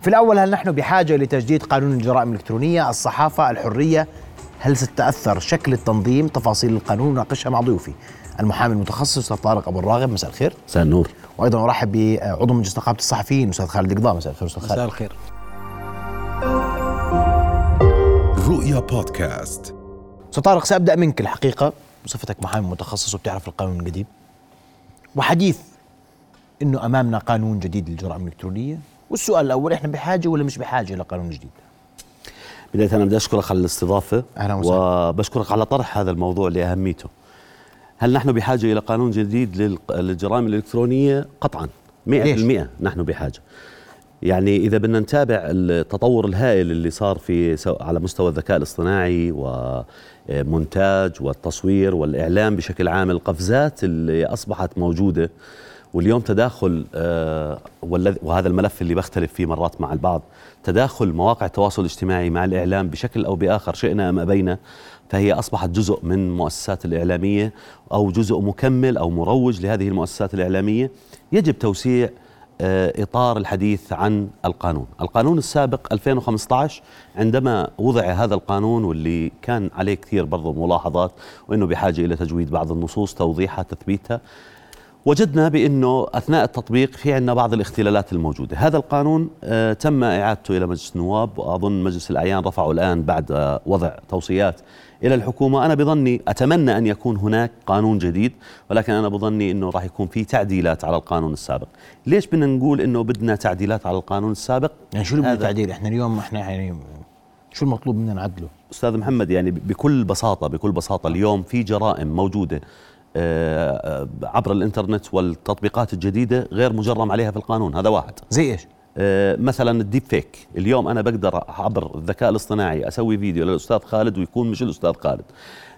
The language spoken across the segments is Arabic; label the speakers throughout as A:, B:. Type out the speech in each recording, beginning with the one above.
A: في الأول هل نحن بحاجة لتجديد قانون الجرائم الإلكترونية الصحافة الحرية هل ستتأثر شكل التنظيم تفاصيل القانون ناقشها مع ضيوفي المحامي المتخصص أستاذ طارق أبو الراغب مساء الخير
B: مساء النور
A: وأيضا أرحب بعضو مجلس نقابة الصحفيين أستاذ خالد القضاء مساء الخير أستاذ خالد
C: مساء الخير
D: رؤيا بودكاست
A: أستاذ طارق سأبدأ منك الحقيقة بصفتك محامي متخصص وبتعرف القانون من قديم وحديث انه امامنا قانون جديد للجرائم الالكترونيه والسؤال الاول احنا بحاجه ولا مش بحاجه لقانون جديد
B: بداية أنا بدي أشكرك على الاستضافة
A: أهلاً وسهلاً.
B: وبشكرك على طرح هذا الموضوع لأهميته هل نحن بحاجة إلى قانون جديد للق- للجرائم الإلكترونية؟ قطعا 100% نحن بحاجة يعني إذا بدنا نتابع التطور الهائل اللي صار في سو- على مستوى الذكاء الاصطناعي ومونتاج والتصوير والإعلام بشكل عام القفزات اللي أصبحت موجودة واليوم تداخل آه، والذي- وهذا الملف اللي بختلف فيه مرات مع البعض تداخل مواقع التواصل الاجتماعي مع الإعلام بشكل أو بآخر شئنا أم أبينا فهي أصبحت جزء من مؤسسات الإعلامية أو جزء مكمل أو مروج لهذه المؤسسات الإعلامية يجب توسيع آه، إطار الحديث عن القانون القانون السابق 2015 عندما وضع هذا القانون واللي كان عليه كثير برضو ملاحظات وأنه بحاجة إلى تجويد بعض النصوص توضيحها تثبيتها وجدنا بانه اثناء التطبيق في عندنا بعض الاختلالات الموجوده، هذا القانون آه، تم اعادته الى مجلس النواب واظن مجلس الاعيان رفعه الان بعد آه، وضع توصيات الى الحكومه، انا بظني اتمنى ان يكون هناك قانون جديد ولكن انا بظني انه راح يكون في تعديلات على القانون السابق، ليش بدنا نقول انه بدنا تعديلات على القانون السابق؟
A: يعني شو اللي بده
B: هذا-
A: تعديل احنا اليوم احنا يعني شو المطلوب منا نعدله
B: استاذ محمد يعني ب- بكل بساطه بكل بساطه اليوم في جرائم موجوده آه، آه، عبر الانترنت والتطبيقات الجديده غير مجرم عليها في القانون هذا واحد
A: زي ايش
B: آه، مثلا الديب فيك اليوم انا بقدر عبر الذكاء الاصطناعي اسوي فيديو للاستاذ خالد ويكون مش الاستاذ خالد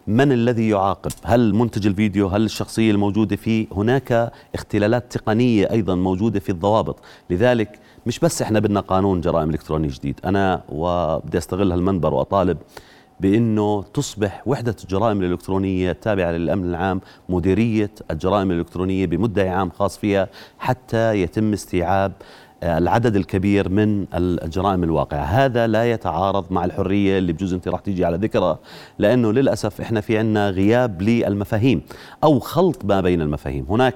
B: من الذي يعاقب هل منتج الفيديو هل الشخصيه الموجوده فيه هناك اختلالات تقنيه ايضا موجوده في الضوابط لذلك مش بس احنا بدنا قانون جرائم الكتروني جديد انا وبدي استغل هالمنبر واطالب بانه تصبح وحده الجرائم الالكترونيه التابعه للامن العام مديريه الجرائم الالكترونيه بمدعي عام خاص فيها حتى يتم استيعاب آه، العدد الكبير من الجرائم الواقعه، هذا لا يتعارض مع الحريه اللي بجوز انت راح تيجي على ذكرها، لانه للاسف احنا في عندنا غياب للمفاهيم او خلط ما بين المفاهيم، هناك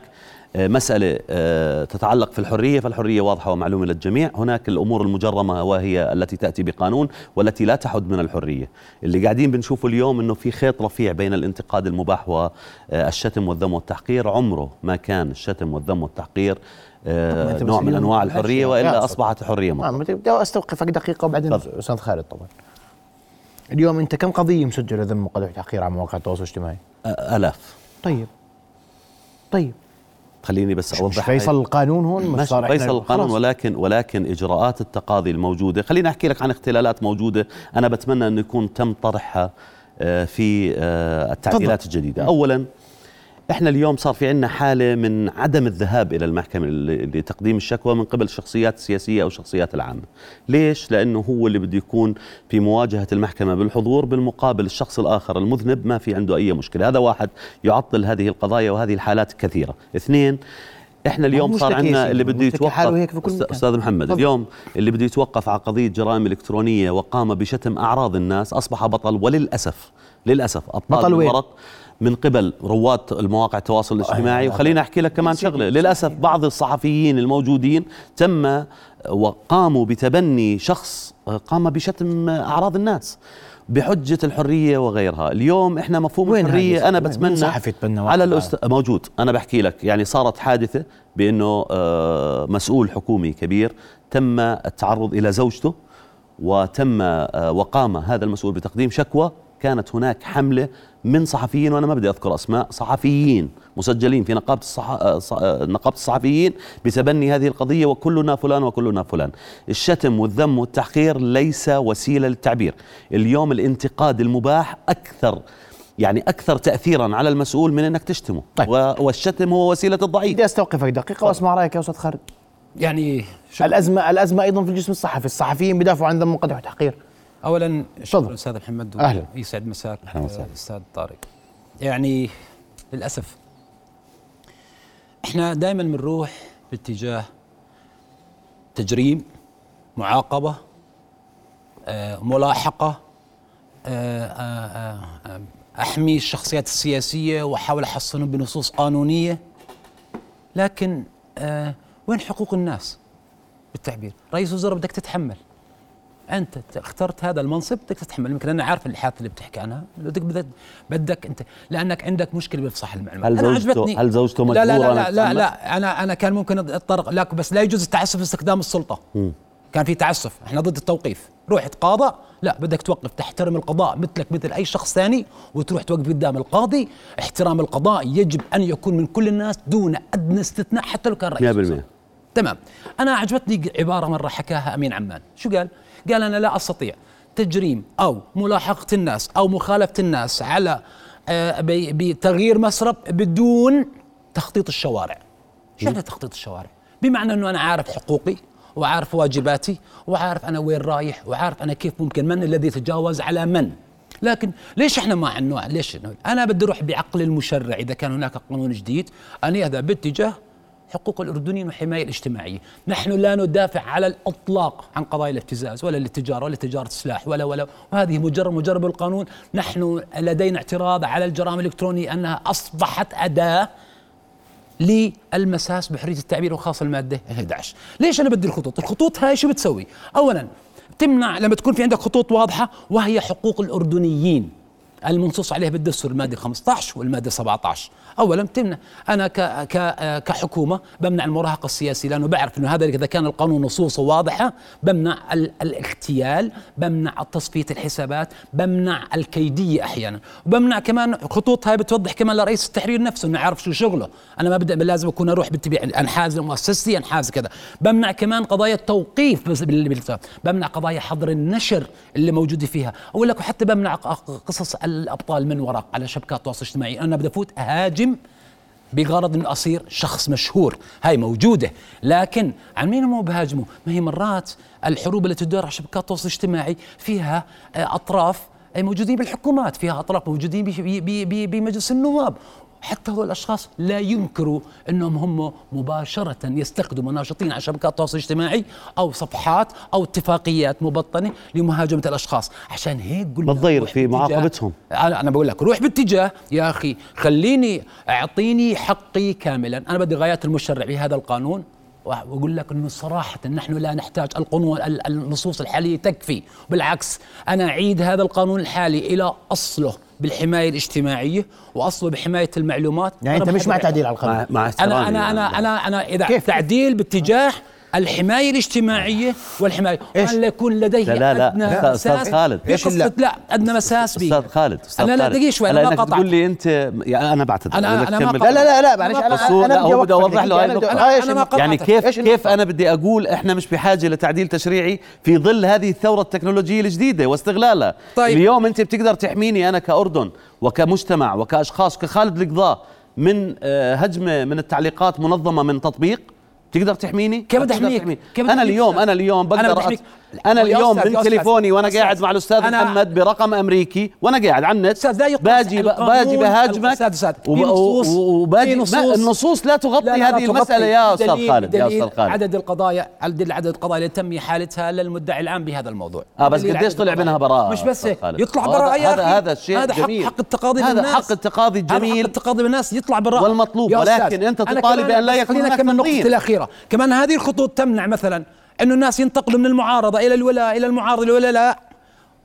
B: آه، مسألة آه، تتعلق في الحرية فالحرية واضحة ومعلومة للجميع هناك الأمور المجرمة وهي التي تأتي بقانون والتي لا تحد من الحرية اللي قاعدين بنشوفه اليوم أنه في خيط رفيع بين الانتقاد المباح والشتم والذم والتحقير عمره ما كان الشتم والذم والتحقير آه،
A: أنت
B: نوع
A: بس
B: من
A: اليوم ما
B: أنواع
A: فيش
B: الحرية
A: يعني
B: وإلا
A: قاعد
B: أصبحت حرية مطلقة.
A: نعم بدي استوقفك دقيقه وبعدين
B: تفضل.
A: استاذ خالد طبعا اليوم انت كم قضيه مسجله ذم وقدح وتحقير على مواقع التواصل الاجتماعي
B: آه، آلاف
A: طيب طيب
B: خليني بس
A: مش, مش
B: أوضح
A: فيصل القانون هون مش
B: ماشي
A: صار إحنا-
B: فيصل القانون
A: خلاص.
B: ولكن ولكن اجراءات التقاضي الموجوده خليني احكي لك عن اختلالات موجوده انا بتمنى انه يكون تم طرحها آه، في آه، التعديلات الجديده اولا احنا اليوم صار في عندنا حاله من عدم الذهاب الى المحكمه ل- لتقديم الشكوى من قبل الشخصيات السياسيه او الشخصيات العامه ليش لانه هو اللي بده يكون في مواجهه المحكمه بالحضور بالمقابل الشخص الاخر المذنب ما في عنده اي مشكله هذا واحد يعطل هذه القضايا وهذه الحالات كثيرة اثنين احنا اليوم
A: مش
B: صار
A: لك يا
B: عندنا
A: سيدي،
B: اللي بده
A: مش لك حاله هيك
B: يتوقف
A: في كل
B: أست-
A: مكان.
B: استاذ محمد
A: تفضل.
B: اليوم اللي بده يتوقف على قضيه جرائم الكترونيه وقام بشتم اعراض الناس اصبح بطل وللاسف للاسف ابطال
A: بطل وين؟
B: المرض من قبل رواد المواقع التواصل الاجتماعي
A: أيوة.
B: وخليني احكي لك كمان شغله للاسف بعض الصحفيين الموجودين تم وقاموا بتبني شخص قام بشتم اعراض الناس بحجه الحريه وغيرها اليوم احنا مفهوم
A: وين
B: الحريه
A: هذه؟
B: انا
A: وين- مين
B: بتمنى
A: صحفي تبنى واحد
B: على
A: بعد؟
B: الأست... موجود انا بحكي لك يعني صارت حادثه بانه آه، مسؤول حكومي كبير تم التعرض الى زوجته وتم آه، وقام هذا المسؤول بتقديم شكوى كانت هناك حمله من صحفيين وانا ما بدي اذكر اسماء صحفيين مسجلين في نقابه الصح... آه، ص- آه، نقابه الصحفيين بتبني هذه القضيه وكلنا فلان وكلنا فلان الشتم والذم والتحقير ليس وسيله للتعبير اليوم الانتقاد المباح اكثر يعني اكثر تاثيرا على المسؤول من انك تشتمه
A: طيب.
B: و- والشتم هو وسيله الضعيف
A: بدي استوقفك دقيقه واسمع رايك يا استاذ خالد
C: يعني شكرا
A: الازمه الازمه ايضا في الجسم الصحفي الصحفيين بيدافعوا عن ذم وقدح وتحقير
B: يعني
C: اولا
A: تفضل.
C: شكرا استاذ محمد و-
A: أهلا.
C: يسعد مساك
B: أهلا وسهلا.
C: آه، استاذ طارق يعني للاسف احنا دائما بنروح باتجاه تجريم معاقبه آه، ملاحقه آه، آه، آه، آه، احمي الشخصيات السياسيه واحاول احصنهم بنصوص قانونيه لكن آه، وين حقوق الناس بالتعبير رئيس وزراء بدك تتحمل انت ت- اخترت هذا المنصب بدك تتحمل يمكن انا عارف الحادثه اللي بتحكي عنها بدك بدك, بدك انت لانك عندك مشكله بفصح المعلومات
B: هل
C: أنا
B: زوجته-
C: عجبتني-
B: هل زوجته
C: لا لا
B: مجبورة
C: لا
B: أن
C: لا, لا,
B: تتحمل؟
C: لا انا انا كان ممكن اتطرق لك بس لا يجوز التعسف في استخدام السلطه كان في تعسف احنا ضد التوقيف روح تقاضى لا بدك توقف تحترم القضاء مثلك مثل اي شخص ثاني وتروح توقف قدام القاضي احترام القضاء يجب ان يكون من كل الناس دون ادنى استثناء حتى لو كان رئيس
B: 100%
C: تمام انا عجبتني عباره مره حكاها امين عمان شو قال قال انا لا استطيع تجريم او ملاحقه الناس او مخالفه الناس على آه، ب- بتغيير مسرب بدون تخطيط الشوارع شو يعني تخطيط الشوارع بمعنى انه انا عارف حقوقي وعارف واجباتي وعارف انا وين رايح وعارف انا كيف ممكن من الذي يتجاوز على من لكن ليش احنا ما عندنا ليش إنه انا بدي اروح بعقل المشرع اذا كان هناك قانون جديد ان يذهب باتجاه حقوق الأردنيين والحماية الاجتماعية نحن لا ندافع على الإطلاق عن قضايا الابتزاز ولا الاتجار ولا تجارة السلاح ولا ولا وهذه مجرد مجرد القانون نحن لدينا اعتراض على الجرائم الإلكترونية أنها أصبحت أداة للمساس بحريه التعبير وخاصه الماده 11 ليش انا بدي الخطوط الخطوط هاي شو بتسوي اولا تمنع لما تكون في عندك خطوط واضحه وهي حقوق الاردنيين المنصوص عليها بالدستور الماده 15 والماده 17 اولا تمنع انا ك ك آه، كحكومه بمنع المراهقه السياسي لانه بعرف انه هذا اذا كان القانون نصوصه واضحه بمنع ال الاغتيال بمنع تصفيه الحسابات بمنع الكيديه احيانا وبمنع كمان خطوط هاي بتوضح كمان لرئيس التحرير نفسه انه عارف شو شغله انا ما بدي لازم اكون اروح بتبيع انحاز مؤسستي انحاز كذا بمنع كمان قضايا التوقيف بس بال- بال- بمنع قضايا حظر النشر اللي موجوده فيها اقول لك وحتى بمنع ق- قصص الابطال من وراء على شبكات التواصل الاجتماعي انا بدي افوت اهاجم بغرض انه اصير شخص مشهور، هاي موجوده، لكن عن مين هم بهاجموا؟ ما هي مرات الحروب التي تدار على شبكات التواصل الاجتماعي فيها آه، اطراف آه، موجودين بالحكومات، فيها اطراف موجودين بش- ب- ب- ب- بمجلس النواب، حتى هؤلاء الاشخاص لا ينكروا انهم هم مباشره يستخدموا ناشطين على شبكات التواصل الاجتماعي او صفحات او اتفاقيات مبطنه لمهاجمه الاشخاص، عشان هيك قلنا
B: بتضير
C: روح
B: في
C: باتجاه-
B: معاقبتهم.
C: انا أنا بقول لك روح باتجاه يا اخي خليني اعطيني حقي كاملا انا بدي غايات المشرع بهذا القانون وأ- واقول لك انه صراحه نحن لا نحتاج القانون ال- النصوص الحاليه تكفي بالعكس انا اعيد هذا القانون الحالي الى اصله بالحمايه الاجتماعيه واصله بحمايه المعلومات
A: يعني انت
C: أنا
A: مش مع
C: بحب-
A: تعديل على القانون
B: مع مع احترامي
C: انا انا انا
B: يعني.
C: انا انا اذا
A: كيف؟
C: كيف؟ تعديل باتجاه الحماية الاجتماعية والحماية
A: إيش؟
C: وأن لا يكون لديه
B: لا لا لا،
C: أدنى
B: لا، أستاذ
C: مساس
B: خالد.
C: في
A: إيش
C: قصة
A: لا؟
C: لا. أدنى مساس بي
B: استاذ خالد استاذ
C: أنا لا
B: خالد.
C: دقيقة شوي،
B: على
C: أنا ما
B: إنك
C: قطعت.
B: تقول لي انت يعني انا بعتذر
C: أنا-
B: بدك
C: أنا ما
B: تكمل.
C: قطعت.
A: لا لا لا لا معلش انا
B: بس هو-
A: انا
B: لا،
A: بدي
B: هو بدي
A: أوقفك
B: أوضح له هاي
A: دقيقة، أنا بدي-
B: النقطة.
A: آه، إيش
C: أنا ما
A: النقطة؟
B: يعني
C: قطعتك.
B: كيف
A: إيش
B: كيف انا بدي اقول احنا مش بحاجه لتعديل تشريعي في ظل هذه الثوره التكنولوجيه الجديده واستغلالها
C: طيب.
B: اليوم انت بتقدر تحميني انا كاردن وكمجتمع وكاشخاص وكخالد القضاء من آه، هجمه من التعليقات منظمه من تطبيق تقدر تحميني
C: كيف بدي
B: بتقدر
C: أحميك؟
B: تحميني.
C: كيف بدي
B: انا
C: أحميك
B: اليوم
C: أستاذ؟
B: انا اليوم
C: أنا بدي
B: بقدر
C: أحميك.
B: أت- انا
C: يا
B: اليوم
C: أستاذ، يا
B: من
C: أستاذ،
B: تليفوني وانا
C: أستاذ.
B: قاعد مع الاستاذ
C: أنا-
B: محمد برقم امريكي وانا قاعد على النت
C: أستاذ، لا يقاس
B: باجي ب- باجي
C: القانون-
B: بهاجمك
C: أستاذ، أستاذ، في
B: وب-
C: نصوص-
B: وباجي
C: في
B: ما-
C: نصوص.
B: النصوص لا تغطي
C: لا، لا،
B: هذه
C: تغطي.
B: المساله يا استاذ
C: بدليل-
B: خالد يا
C: بدليل
B: استاذ خالد
C: عدد القضايا عدد عدد القضايا اللي تم حالتها للمدعي العام بهذا الموضوع
B: آه، بس
C: بدليل
B: قديش
C: عدد
B: طلع
C: القضايا.
B: منها براءة
C: مش بس
B: أستاذ
C: هيك.
B: خالد.
C: يطلع
B: هذا-
C: براءة يا
B: هذا-
C: أخي.
B: هذا الشيء
C: هذا حق
B: الجميل.
C: حق التقاضي
B: هذا
C: بالناس
B: حق التقاضي
C: هذا
B: الجميل.
C: حق التقاضي بالناس يطلع براءة
B: والمطلوب،
C: يا
B: ولكن
C: أستاذ،
B: أنت
C: أنا
B: تطالب
C: كمان-
B: بأن لا
C: بس
B: يكون
C: خلينا
B: هناك
C: كمان
B: تنظير.
C: نقطة الأخيرة كمان هذه الخطوط تمنع مثلا أنه الناس ينتقلوا من المعارضة إلى الولاء إلى المعارضة إلى الولاء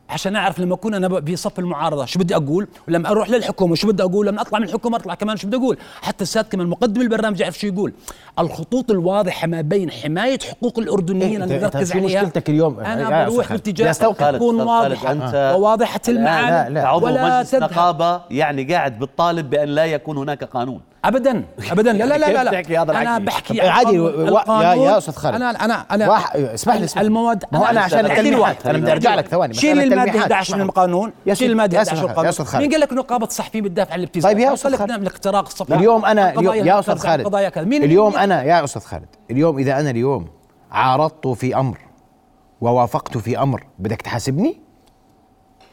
C: عشان اعرف لما اكون انا ب- في صف المعارضه شو بدي اقول ولما اروح للحكومه شو بدي اقول لما اطلع من الحكومه اطلع كمان شو بدي اقول حتى الساد كمان مقدم البرنامج يعرف شو يقول الخطوط الواضحه ما بين حمايه حقوق
A: إيه،
C: الاردنيين
A: أنت-
C: اللي
A: أنت
C: نركز
A: شو
C: عليها
A: مشكلتك اليوم؟ يا
C: انا
A: أستاذ
C: بروح
A: خالد.
C: باتجاه
A: يا أستاذ خالد،
C: تكون
B: أستاذ خالد،
C: واضحه
B: أنت
C: وواضحه
A: لا،
C: المعاني
A: لا.
B: عضو
C: ولا
B: مجلس
C: تذهب
B: نقابة يعني قاعد بتطالب بأن لا يكون هناك قانون
C: ابدا ابدا لا
A: يعني
C: لا لا لا,
B: كيف تحكي هذا
C: لا. انا
B: الحكي؟
C: بحكي
A: طب
C: عن
A: عادي،
C: قانون-
A: و- يا-
C: القانون.
A: يا أستاذ خالد.
C: انا انا انا
A: واح- اسمح لي اسمح لي.
C: المواد
A: ما هو أنا عشان
C: أعدل
A: التلميحات،
C: واحد.
A: أنا بدي أرجع لك ثواني، بس
C: شيل
A: أنا
C: الماده
A: التلميحات.
C: 11 من القانون
A: يا
C: شيل
A: سيدي،
C: الماده
A: يا أستاذ
C: 11 من
A: خالد،
C: القانون
A: يا أستاذ خالد.
C: مين قال لك نقابه الصحفيين بتدافع عن الابتزاز
A: طيب يا
C: مين
A: أستاذ
C: قال لك
A: خالد.
C: نعمل اختراق الصفحه
A: اليوم انا
C: قضايا-
A: اليوم يا استاذ
C: قضايا-
A: خالد
C: قضايا كذا مين
A: اليوم
C: مين-
A: انا يا استاذ خالد اليوم اذا انا اليوم عارضته في امر ووافقت في امر بدك تحاسبني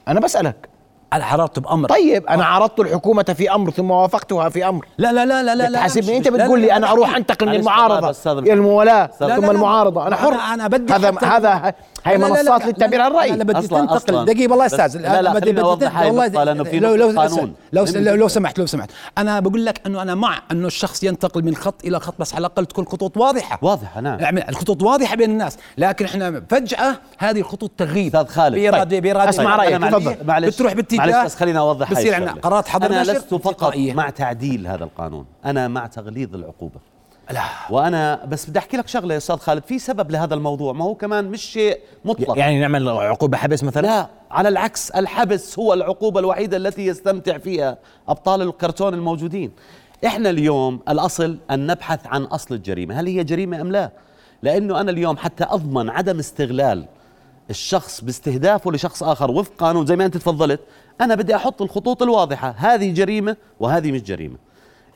A: انا بسالك
C: على حرارته بامر
A: طيب
C: آه.
A: انا عرضت الحكومه في امر ثم وافقتها في امر
C: لا لا لا لا لا لا
A: حاسبني
C: مش-
A: انت
C: مش- لا-
A: بتقول
C: لا-
A: لي
C: لا-
A: انا
C: لا-
A: اروح انتقل
B: معلش،
A: للمعارضه
B: أستاذ-
A: الى الموالاه
B: لا-
A: ثم
C: لا- لا.
A: المعارضه انا حر
C: أنا- أنا بدي
A: هذا
C: حتى-
A: هذا هي
C: لا- لا- لا-
A: منصات
C: لا-
A: للتعبير عن
C: لا- لا
A: الراي
C: بدي
B: أصلاً-
C: تنتقل
B: أصلاً.
C: دقيقه والله
B: بس-
C: استاذن
B: لا، لا،
C: أنا بدي-
B: خليني
C: بدي-
B: أوضح هاي
C: والله
B: النقطة، لأنه في
C: لو
B: نقطة
C: لو
B: قانون.
C: لو,
B: خليني
C: لو,
B: بدي-
C: لو سمحت لو سمحت انا بقول لك انه انا مع انه الشخص ينتقل من خط الى خط بس على الاقل تكون خطوط واضحه
B: واضحه نعم
C: نعم الخطوط واضحه بين الناس لكن احنا فجاه هذه الخطوط تغيب
B: أستاذ خالد،
C: بإرادة
B: طيب،
C: بإرادة
A: أسمع
C: طيب،
A: رأيك،
C: أنا
A: تفضل.
B: معلش-
C: معلش- بتروح باتجاه
B: معلش بس خليني اوضح هاي
C: بصير عندنا
B: الشغلة.
C: قرارات حظر
B: انا
C: نشر
B: لست فقط
C: تلقائية.
B: مع تعديل هذا القانون انا مع تغليظ العقوبه
C: لا
B: وانا بس بدي احكي لك شغله يا استاذ خالد في سبب لهذا الموضوع ما هو كمان مش شيء مطلق
A: يعني نعمل عقوبه حبس مثلا
B: لا على العكس الحبس هو العقوبة الوحيدة التي يستمتع فيها أبطال الكرتون الموجودين إحنا اليوم الأصل أن نبحث عن أصل الجريمة هل هي جريمة أم لا لأنه أنا اليوم حتى أضمن عدم استغلال الشخص باستهدافه لشخص آخر وفق قانون زي ما أنت تفضلت أنا بدي أحط الخطوط الواضحة هذه جريمة وهي مش جريمة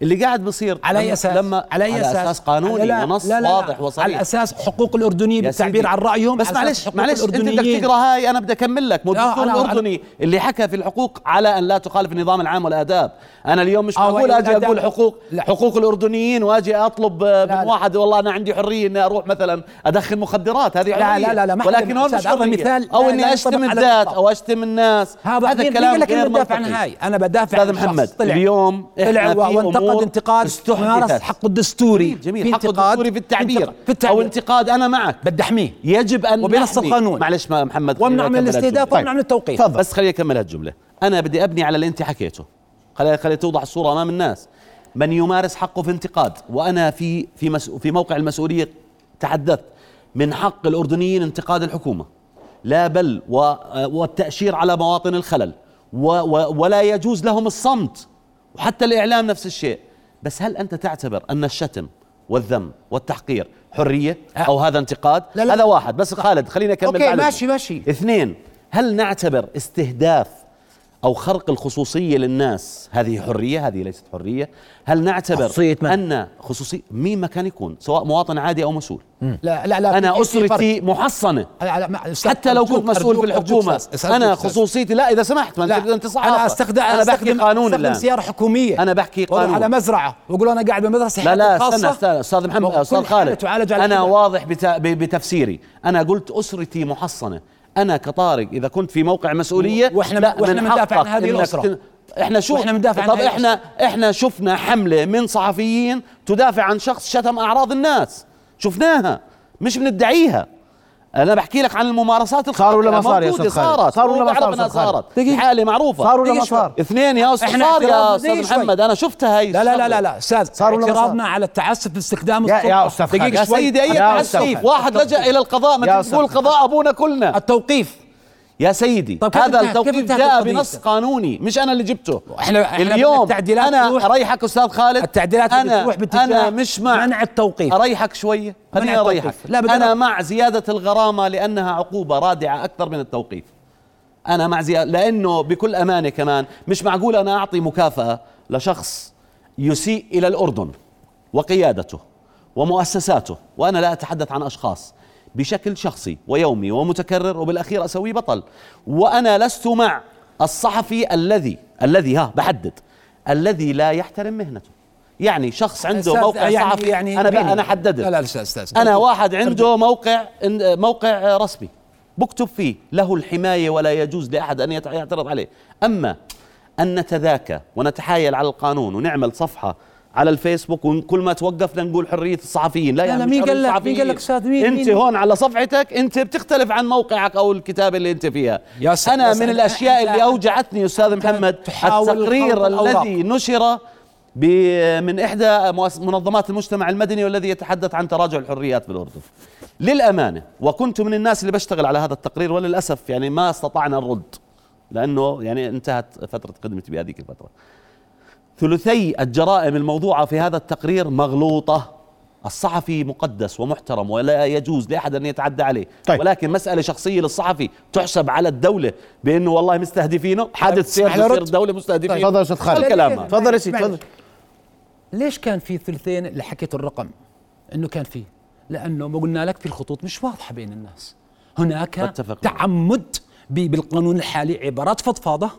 B: اللي قاعد بصير
C: على
B: لما-
C: اي اساس؟
B: لما
C: على اي
B: على
C: اساس؟
B: أساس قانوني ونص واضح وصريح
C: على اساس حقوق الاردنيين
B: يا
C: بالتعبير
B: سيدي.
C: عن رايهم
B: بس
C: على أساس
B: معلش
C: حقوق
B: معلش انت بدك
C: الأردنيين.
B: تقرا هاي انا بدي اكمل لك مو
C: لا،
B: الدستور
C: أنا- أنا-
B: الاردني اللي حكى في الحقوق على ان لا تخالف النظام العام والاداب انا اليوم مش
C: آه،
B: معقول
C: وإن
B: اجي
C: الأداب-
B: اقول حقوق
C: لا.
B: حقوق الاردنيين واجي اطلب آه،
C: لا،
B: من
C: لا.
B: واحد والله انا عندي حريه اني اروح مثلا ادخن مخدرات هذه
C: لا،
B: حرية.
C: لا، لا، لا، ما حدا-
B: ولكن هون مش
C: أستاذ، هذا
B: حرية.
C: مثال
B: او
C: لا-
B: اني
C: لا
B: اشتم
C: ينطبق على
B: الذات
C: الإطلاق.
B: او اشتم الناس
C: هذا مين- مين
B: كلام
C: قال لك
B: غير
C: انا بدافع عن
B: منطقي.
C: هاي انا بدافع
B: استاذ
C: عن شخص
B: محمد
C: طلع
B: اليوم إحنا
C: طلع
B: في
C: وانتقد
B: أمور
C: انتقاد مارس
B: استحدثت.
C: حقه الدستوري
B: جميل جميل
C: في
B: حق
C: انتقاد-
B: الدستوري في التعبير
C: في
B: او
C: التعبير
B: انتقاد انا معك
C: بدي احميه
B: يجب ان
C: وبنص
B: نحمي.
C: القانون.
B: معلش ما محمد طيب. خليني
C: وامنع من
B: أكمل
C: الاستهداف
B: الجملة.
C: وامنع من التوقيف
A: تفضل.
B: بس خليني اكمل هالجمله انا بدي ابني على اللي انت حكيته خلي خلي توضح الصوره امام الناس من يمارس حقه في انتقاد وانا في في مسؤ- في موقع المسؤوليه تحدثت من حق الاردنيين انتقاد الحكومه لا بل و والتاشير على مواطن الخلل و و ولا يجوز لهم الصمت وحتى الاعلام نفس الشيء بس هل انت تعتبر ان الشتم والذم والتحقير حريه او هذا انتقاد
C: أه. لا لا.
B: هذا واحد بس خالد خلينا اكمل
C: أوكي،
B: بعد.
C: ماشي، ماشي.
B: اثنين هل نعتبر استهداف او خرق الخصوصيه للناس هذه حريه هذه ليست حريه هل نعتبر
A: خصوصية من؟
B: ان خصوصيه مين ما كان يكون سواء مواطن عادي او مسؤول
C: لا لا لا في-
B: انا
C: في فرق.
B: اسرتي محصنه
C: لا، لا، ما- أستاذ،
B: حتى لو كنت
C: أرجوك،
B: مسؤول في
C: أرجوك، أرجوك،
B: الحكومه
C: أستاذ، أستاذ،
B: انا
C: أستاذ.
B: خصوصيتي لا اذا سمحت ما انت
C: لا
B: انت صحافه
C: انا استخدم
B: انا بحكي
C: أستخدم-
B: قانون
C: استخدم
B: الآن.
C: سياره حكوميه
B: أنا بحكي
C: وأروح
B: قانون.
C: على مزرعه واقول انا قاعد بمدرسه
B: لا لا
C: حياتي
B: استنى
C: خاصة.
B: استنى استاذ محمد
C: وكل
B: استاذ
C: حالة
B: خالد
C: تعالج على
B: انا
C: الحدة.
B: واضح بت- ب- بتفسيري انا قلت اسرتي محصنه انا كطارق اذا كنت في موقع مسؤوليه
C: و- وإحنا-
B: لا،
C: وإحنا
B: من
C: بندافع عن
B: حقك
C: هذه
B: إنك
C: الأسرة.
B: تن- احنا شو
C: وإحنا بندافع عن
B: طب
C: هذه
B: احنا احنا شفنا حمله من صحفيين تدافع عن شخص شتم اعراض الناس شفناها مش بندعيها انا بحكي لك عن الممارسات الخاطئه
A: صار ولا ما صار يا
B: موجودة،
A: أستاذ خالد؟
B: صارت
A: صار ولا ما صار
B: وبعرف إنها
A: أستاذ خالد؟
B: صارت
C: دقيقة.
B: حاله معروفه
A: صار ولا ما
C: دقيقة شوي.
A: صار؟
B: اثنين يا استاذ
C: إحنا
B: خالد يا
C: اعتراضنا-
B: استاذ
C: دقيقة شوي.
B: محمد انا شفتها هي
C: لا لا لا
B: الشغلة.
C: لا لا استاذ
A: صار ولا ما صار؟
C: اعتراضنا على التعسف باستخدام
A: يا-
C: السلطة.
A: يا أستاذ
C: دقيقة
A: خالد.
B: يا
C: شوي.
B: سيدي اي
A: يا
B: تعسيف
A: أستاذ.
B: واحد لجأ الى القضاء
A: يا
B: ما
A: أستاذ.
B: تقول قضاء ابونا كلنا
C: التوقيف
B: يا سيدي
C: طب كيف
B: هذا
C: انتهت- كيف
B: التوقيف
C: انتهت
B: جاء
C: القضية؟
B: بنص قانوني مش انا اللي جبته
C: احنا احنا بدنا
B: اليوم
C: التعديلات
B: انا
C: تروح-
B: اريحك استاذ خالد
C: التعديلات اللي
B: انا
C: تروح باتجاه
B: انا مش مع
C: منع التوقيف
B: اريحك شويه خليني
C: التوقيف.
B: اريحك
C: لا، بدنا-
B: انا مع زياده الغرامه لانها عقوبه رادعه اكثر من التوقيف انا مع زياده لانه بكل امانه كمان مش معقول انا اعطي مكافاه لشخص يسيء الى الاردن وقيادته ومؤسساته وانا لا اتحدث عن اشخاص بشكل شخصي ويومي ومتكرر وبالاخير اسويه بطل وانا لست مع الصحفي الذي الذي ها بحدد الذي لا يحترم مهنته يعني شخص عنده
C: أستاذ،
B: موقع
C: يعني-
B: صحفي
C: يعني
B: انا بقى
C: بيني.
B: انا حددت
C: لا، لا، أستاذ، أستاذ.
B: انا واحد عنده موقع إن- موقع رسمي بكتب فيه له الحمايه ولا يجوز لاحد ان يت- يعترض عليه اما ان نتذاكى ونتحايل على القانون ونعمل صفحه على الفيسبوك وكل ما توقفنا نقول حريه الصحفيين لا,
C: لا،
B: يعني
C: لا،
B: مش
C: مين
B: حرية
C: قال لك- مين
B: الصحفيين.
C: قال لك أستاذ؟ مين-
B: انت
C: مين؟
B: هون على صفحتك انت بتختلف عن موقعك او الكتابه اللي انت فيها
C: يا سلام، يا
B: انا من
C: سلام.
B: الاشياء
C: أنت-
B: اللي اوجعتني استاذ محمد
C: تحاول
B: التقرير
C: خلط الأوراق.
B: الذي نشر ب- من احدى مؤس- منظمات المجتمع المدني والذي يتحدث عن تراجع الحريات في الاردن. للامانه وكنت من الناس اللي بشتغل على هذا التقرير وللاسف يعني ما استطعنا الرد لانه يعني انتهت فتره خدمتي بهذيك الفتره. ثلثي الجرائم الموضوعه في هذا التقرير مغلوطه. الصحفي مقدس ومحترم ولا يجوز لاحد ان يتعدى عليه،
A: طيب.
B: ولكن مساله شخصيه للصحفي تحسب على الدوله بانه والله مستهدفينه، حادث سير
C: اسمح لي
B: بصير
C: أرد.
B: الدوله مستهدفينه.
A: تفضل يا استاذ خالد
B: الكلام هذا.
A: تفضل يا سيدي
C: اسمعني.
A: تفضل
C: ليش كان في ثلثين اللي حكيت الرقم انه كان فيه لانه ما قلنا لك في الخطوط مش واضحه بين الناس هناك
B: بتفق معك.
C: تعمد ب- بالقانون الحالي عبارات فضفاضه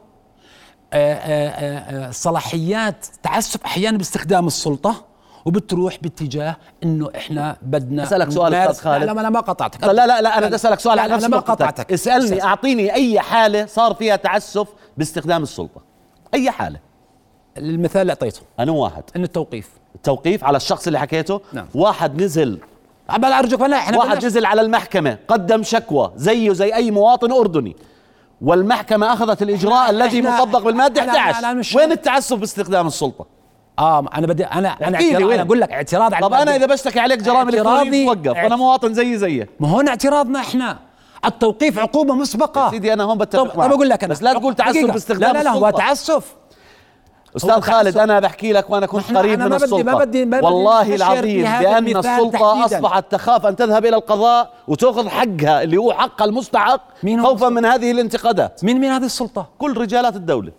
C: آه، آه، آه، صلاحيات تعسف احيانا باستخدام السلطه وبتروح باتجاه انه احنا بدنا
A: أسألك سؤال
C: نمارس-
A: أستاذ خالد.
C: لا لا انا ما قطعتك
A: لا لا لا انا بدي اسالك سؤال
C: لا،
A: عن
C: لا،
A: نفس
C: انا ما
A: نقطتك.
C: قطعتك
A: اسالني اعطيني اي حاله صار فيها تعسف باستخدام السلطه اي حاله
C: المثال اللي اعطيته
B: انا واحد
C: انه التوقيف
B: التوقيف على الشخص اللي حكيته
C: نعم.
B: واحد نزل
C: عبال ارجوك لا احنا
B: واحد
C: بلاش-
B: نزل على المحكمة قدم شكوى زيه زي أي مواطن أردني والمحكمة أخذت الإجراء
C: إحنا-
B: الذي
C: إحنا-
B: مطبق بالمادة
C: أنا- أنا- أنا
B: 11
C: مش-
B: وين التعسف باستخدام السلطة
C: اه انا بدي انا انا
B: احكي لي
C: اعتراض
B: وين؟
C: انا اقول لك اعتراض على
B: طب أنا
C: المادة.
B: إذا بشتكي عليك جرائم
C: اعتراضي-
B: إلكترونية بتوقف وأنا مواطن زيي زيك
C: ما هون اعتراضنا احنا التوقيف عقوبه مسبقه
B: سيدي أنا هون
C: طب
B: بتفق
C: طب اقول لك انا
B: بس لا تقول تعسف
C: دقيقة.
B: باستخدام
C: لا لا لا هو
B: السلطة
C: تعسف
B: أستاذ
C: هو
B: خالد
C: تعسف.
B: أنا بحكي لك وأنا كنت
C: نحن-
B: قريب
C: أنا
B: من
C: ما بدي-
B: السلطة
C: ما بدي- ما بدي
B: والله
C: ننتشر
B: العظيم
C: بهذا
B: لأن
C: المثال
B: السلطة
C: تحديداً.
B: أصبحت تخاف أن تذهب إلى القضاء وتأخذ حقها اللي هو حقها المستحق
C: مين هو
B: خوفا من هذه الانتقادات
C: مين مين هذه السلطه
B: كل رجالات الدولة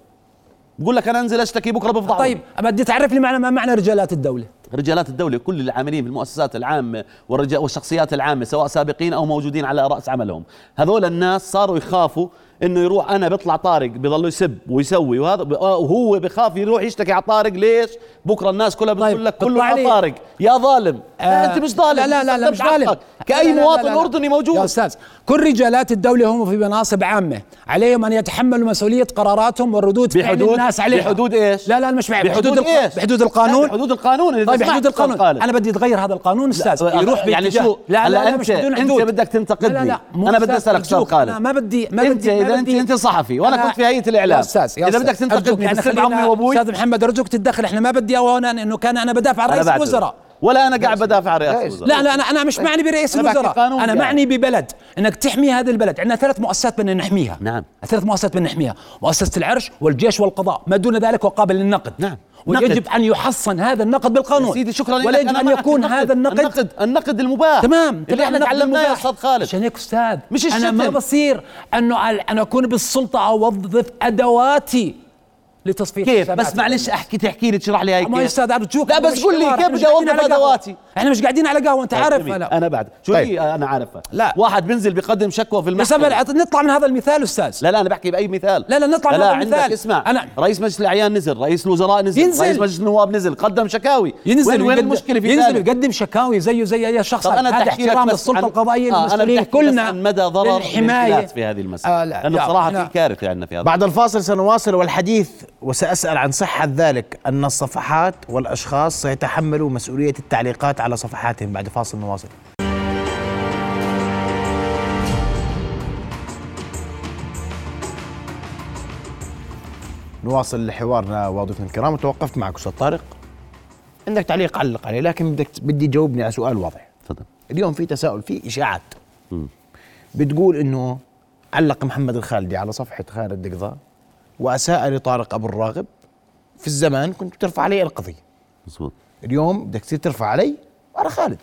B: بقول لك أنا أنزل أشتكي بكرة بفضحهم
C: طيب بدي تعرف لي معنى ما معنى رجالات الدوله
B: رجالات الدولة كل العاملين في المؤسسات العامة والرجال والشخصيات العامة سواء سابقين أو موجودين على رأس عملهم هذول الناس صاروا يخافوا انه يروح انا بيطلع طارق بيضل يسب ويسوي وهذا ب- آه، وهو بخاف يروح يشتكي على طارق ليش؟ بكره الناس كلها بتقول
C: طيب،
B: لك كله
C: بيطلع
B: على
C: لي-
B: طارق يا ظالم آه انت مش ظالم
C: لا لا لا, لا مش
B: استخدمت
C: ظالم
B: حقك كاي
C: لا لا
B: مواطن
C: لا لا.
B: اردني موجود
C: يا استاذ كل رجالات الدوله هم في مناصب عامه عليهم ان يتحملوا مسؤوليه قراراتهم والردود فعل
B: بحدود-
C: الناس عليها
B: بحدود إيش؟
C: لا لا مش معي
B: بحدود
C: بحدود, الق-
B: إيش؟
C: بحدود
B: لا،
C: القانون
B: بحدود القانون اللي
C: طيب
B: سمعت
C: بحدود
B: أستاذ
C: القانون
B: خالد.
C: انا بدي اتغير هذا القانون استاذ يروح
B: يعني
C: باتجاه-
B: شو
C: لا لا, لا
B: انت
C: مش بدون
B: انت
C: حدود
B: بدك تنتقدني
C: لا لا مو
B: انا بدي
C: أستاذ،
B: اسالك استاذ
C: أرجوك،
B: خالد
C: أنا ما بدي ما
B: انت
C: بدي ما
B: اذا انت
C: بدي-
B: انت صحفي وانا
C: أنا-
B: كنت في هيئه الاعلام
C: يا استاذ يا
B: اذا
C: أستاذ،
B: بدك تنتقدني
C: أرجوك، أنا
B: بسب
C: خلينا-
B: عمي وابوي
C: استاذ محمد ارجوك تتدخل احنا ما بدي اهون انه كان انا بدافع عن
B: أنا
C: رئيس
B: بعتذر.
C: الوزراء
B: ولا انا قاعد بدافع عن رئاسه الوزراء
C: لا لا انا انا مش معني برئيس
B: أنا بحكي
C: الوزراء
B: قانون
C: انا
B: يعني.
C: معني ببلد انك تحمي هذا البلد عندنا ثلاث مؤسسات بدنا نحميها
B: نعم.
C: ثلاث مؤسسات بدنا نحميها مؤسسه العرش والجيش والقضاء ما دون ذلك هو قابل للنقد
B: نعم.
C: ويجب
B: نقد.
C: ان يحصن هذا النقد بالقانون
B: سيدي شكرا لك
C: ولا يجب
B: أنا
C: ان
B: معك
C: يكون
B: النقد.
C: هذا النقد,
B: النقد النقد المباح
C: تمام
B: اللي
C: تمام
B: احنا تعلمناه يا استاذ خالد
C: عشان هيك استاذ
B: مش
C: انا ما
B: الشتم.
C: بصير انه ال- انا اكون بالسلطه اوظف ادواتي لتصفيه
B: كيف
C: حسابات
B: بس معلش
C: الناس.
B: احكي تحكي لي تشرح لي هاي
C: ما يا
B: كيف
C: استاذ ارجوك
B: لا
C: هو
B: بس قل لي
C: الحوار،
B: كيف
C: إحنا مش
B: بدي
C: قاعدين
B: أوظف
C: على قهوة.
B: أدواتي؟ طيب،
C: احنا مش قاعدين على قهوه انت عارف
B: جميل.
C: هلا
B: انا بعد شو
A: طيب.
B: طيب. انا عارفها
C: لا.
B: واحد بنزل بقدم شكوى في
C: بس
B: المحكمه
C: أبل عط- نطلع من هذا المثال استاذ
B: لا لا انا بحكي باي مثال
C: لا، لا، نطلع
B: لا,
C: من
B: لا
C: هذا
B: عندك
C: المثال.
B: اسمع أنا
C: أنا-
B: رئيس مجلس الاعيان نزل رئيس الوزراء نزل,
C: ينزل.
B: رئيس مجلس النواب نزل قدم شكاوي
C: ينزل
B: وين, وين
C: ويقدم-
B: المشكله في
C: ينزل
B: ذلك؟
C: يقدم شكاوي زيه زي اي شخص
B: طب أنا
C: هذا
B: بدي أحكي لك
C: احترام
B: بس
C: للسلطه
B: عن- آه،
C: القضائيه
B: أنا بدي
C: المسؤولين
B: أحكي بس
C: كلنا
B: عن مدى ضرر
C: للحمايه
B: الانفلات في هذه المسألة
C: آه، لا،
B: لأنه
C: لا،
B: صراحة
C: لا.
B: في كارثة عندنا في هذا
A: بعد الفاصل سنواصل والحديث وسأسأل عن صحة ذلك أن الصفحات والأشخاص سيتحملوا مسؤولية التعليقات على صفحاتهم بعد فاصل نواصل نواصل حوارنا وضيوفنا الكرام وتوقفت معك أستاذ طارق عندك تعليق علق عليه لكن بدك بدي تجاوبني على سؤال واضح
B: تفضل
A: اليوم في تساؤل في اشاعات بتقول انه علق محمد الخالدي على صفحه خالد دقضاء واساء لطارق ابو الراغب في الزمان كنت بترفع علي القضيه
B: مزبوط
A: اليوم بدك تصير ترفع علي وعلى خالد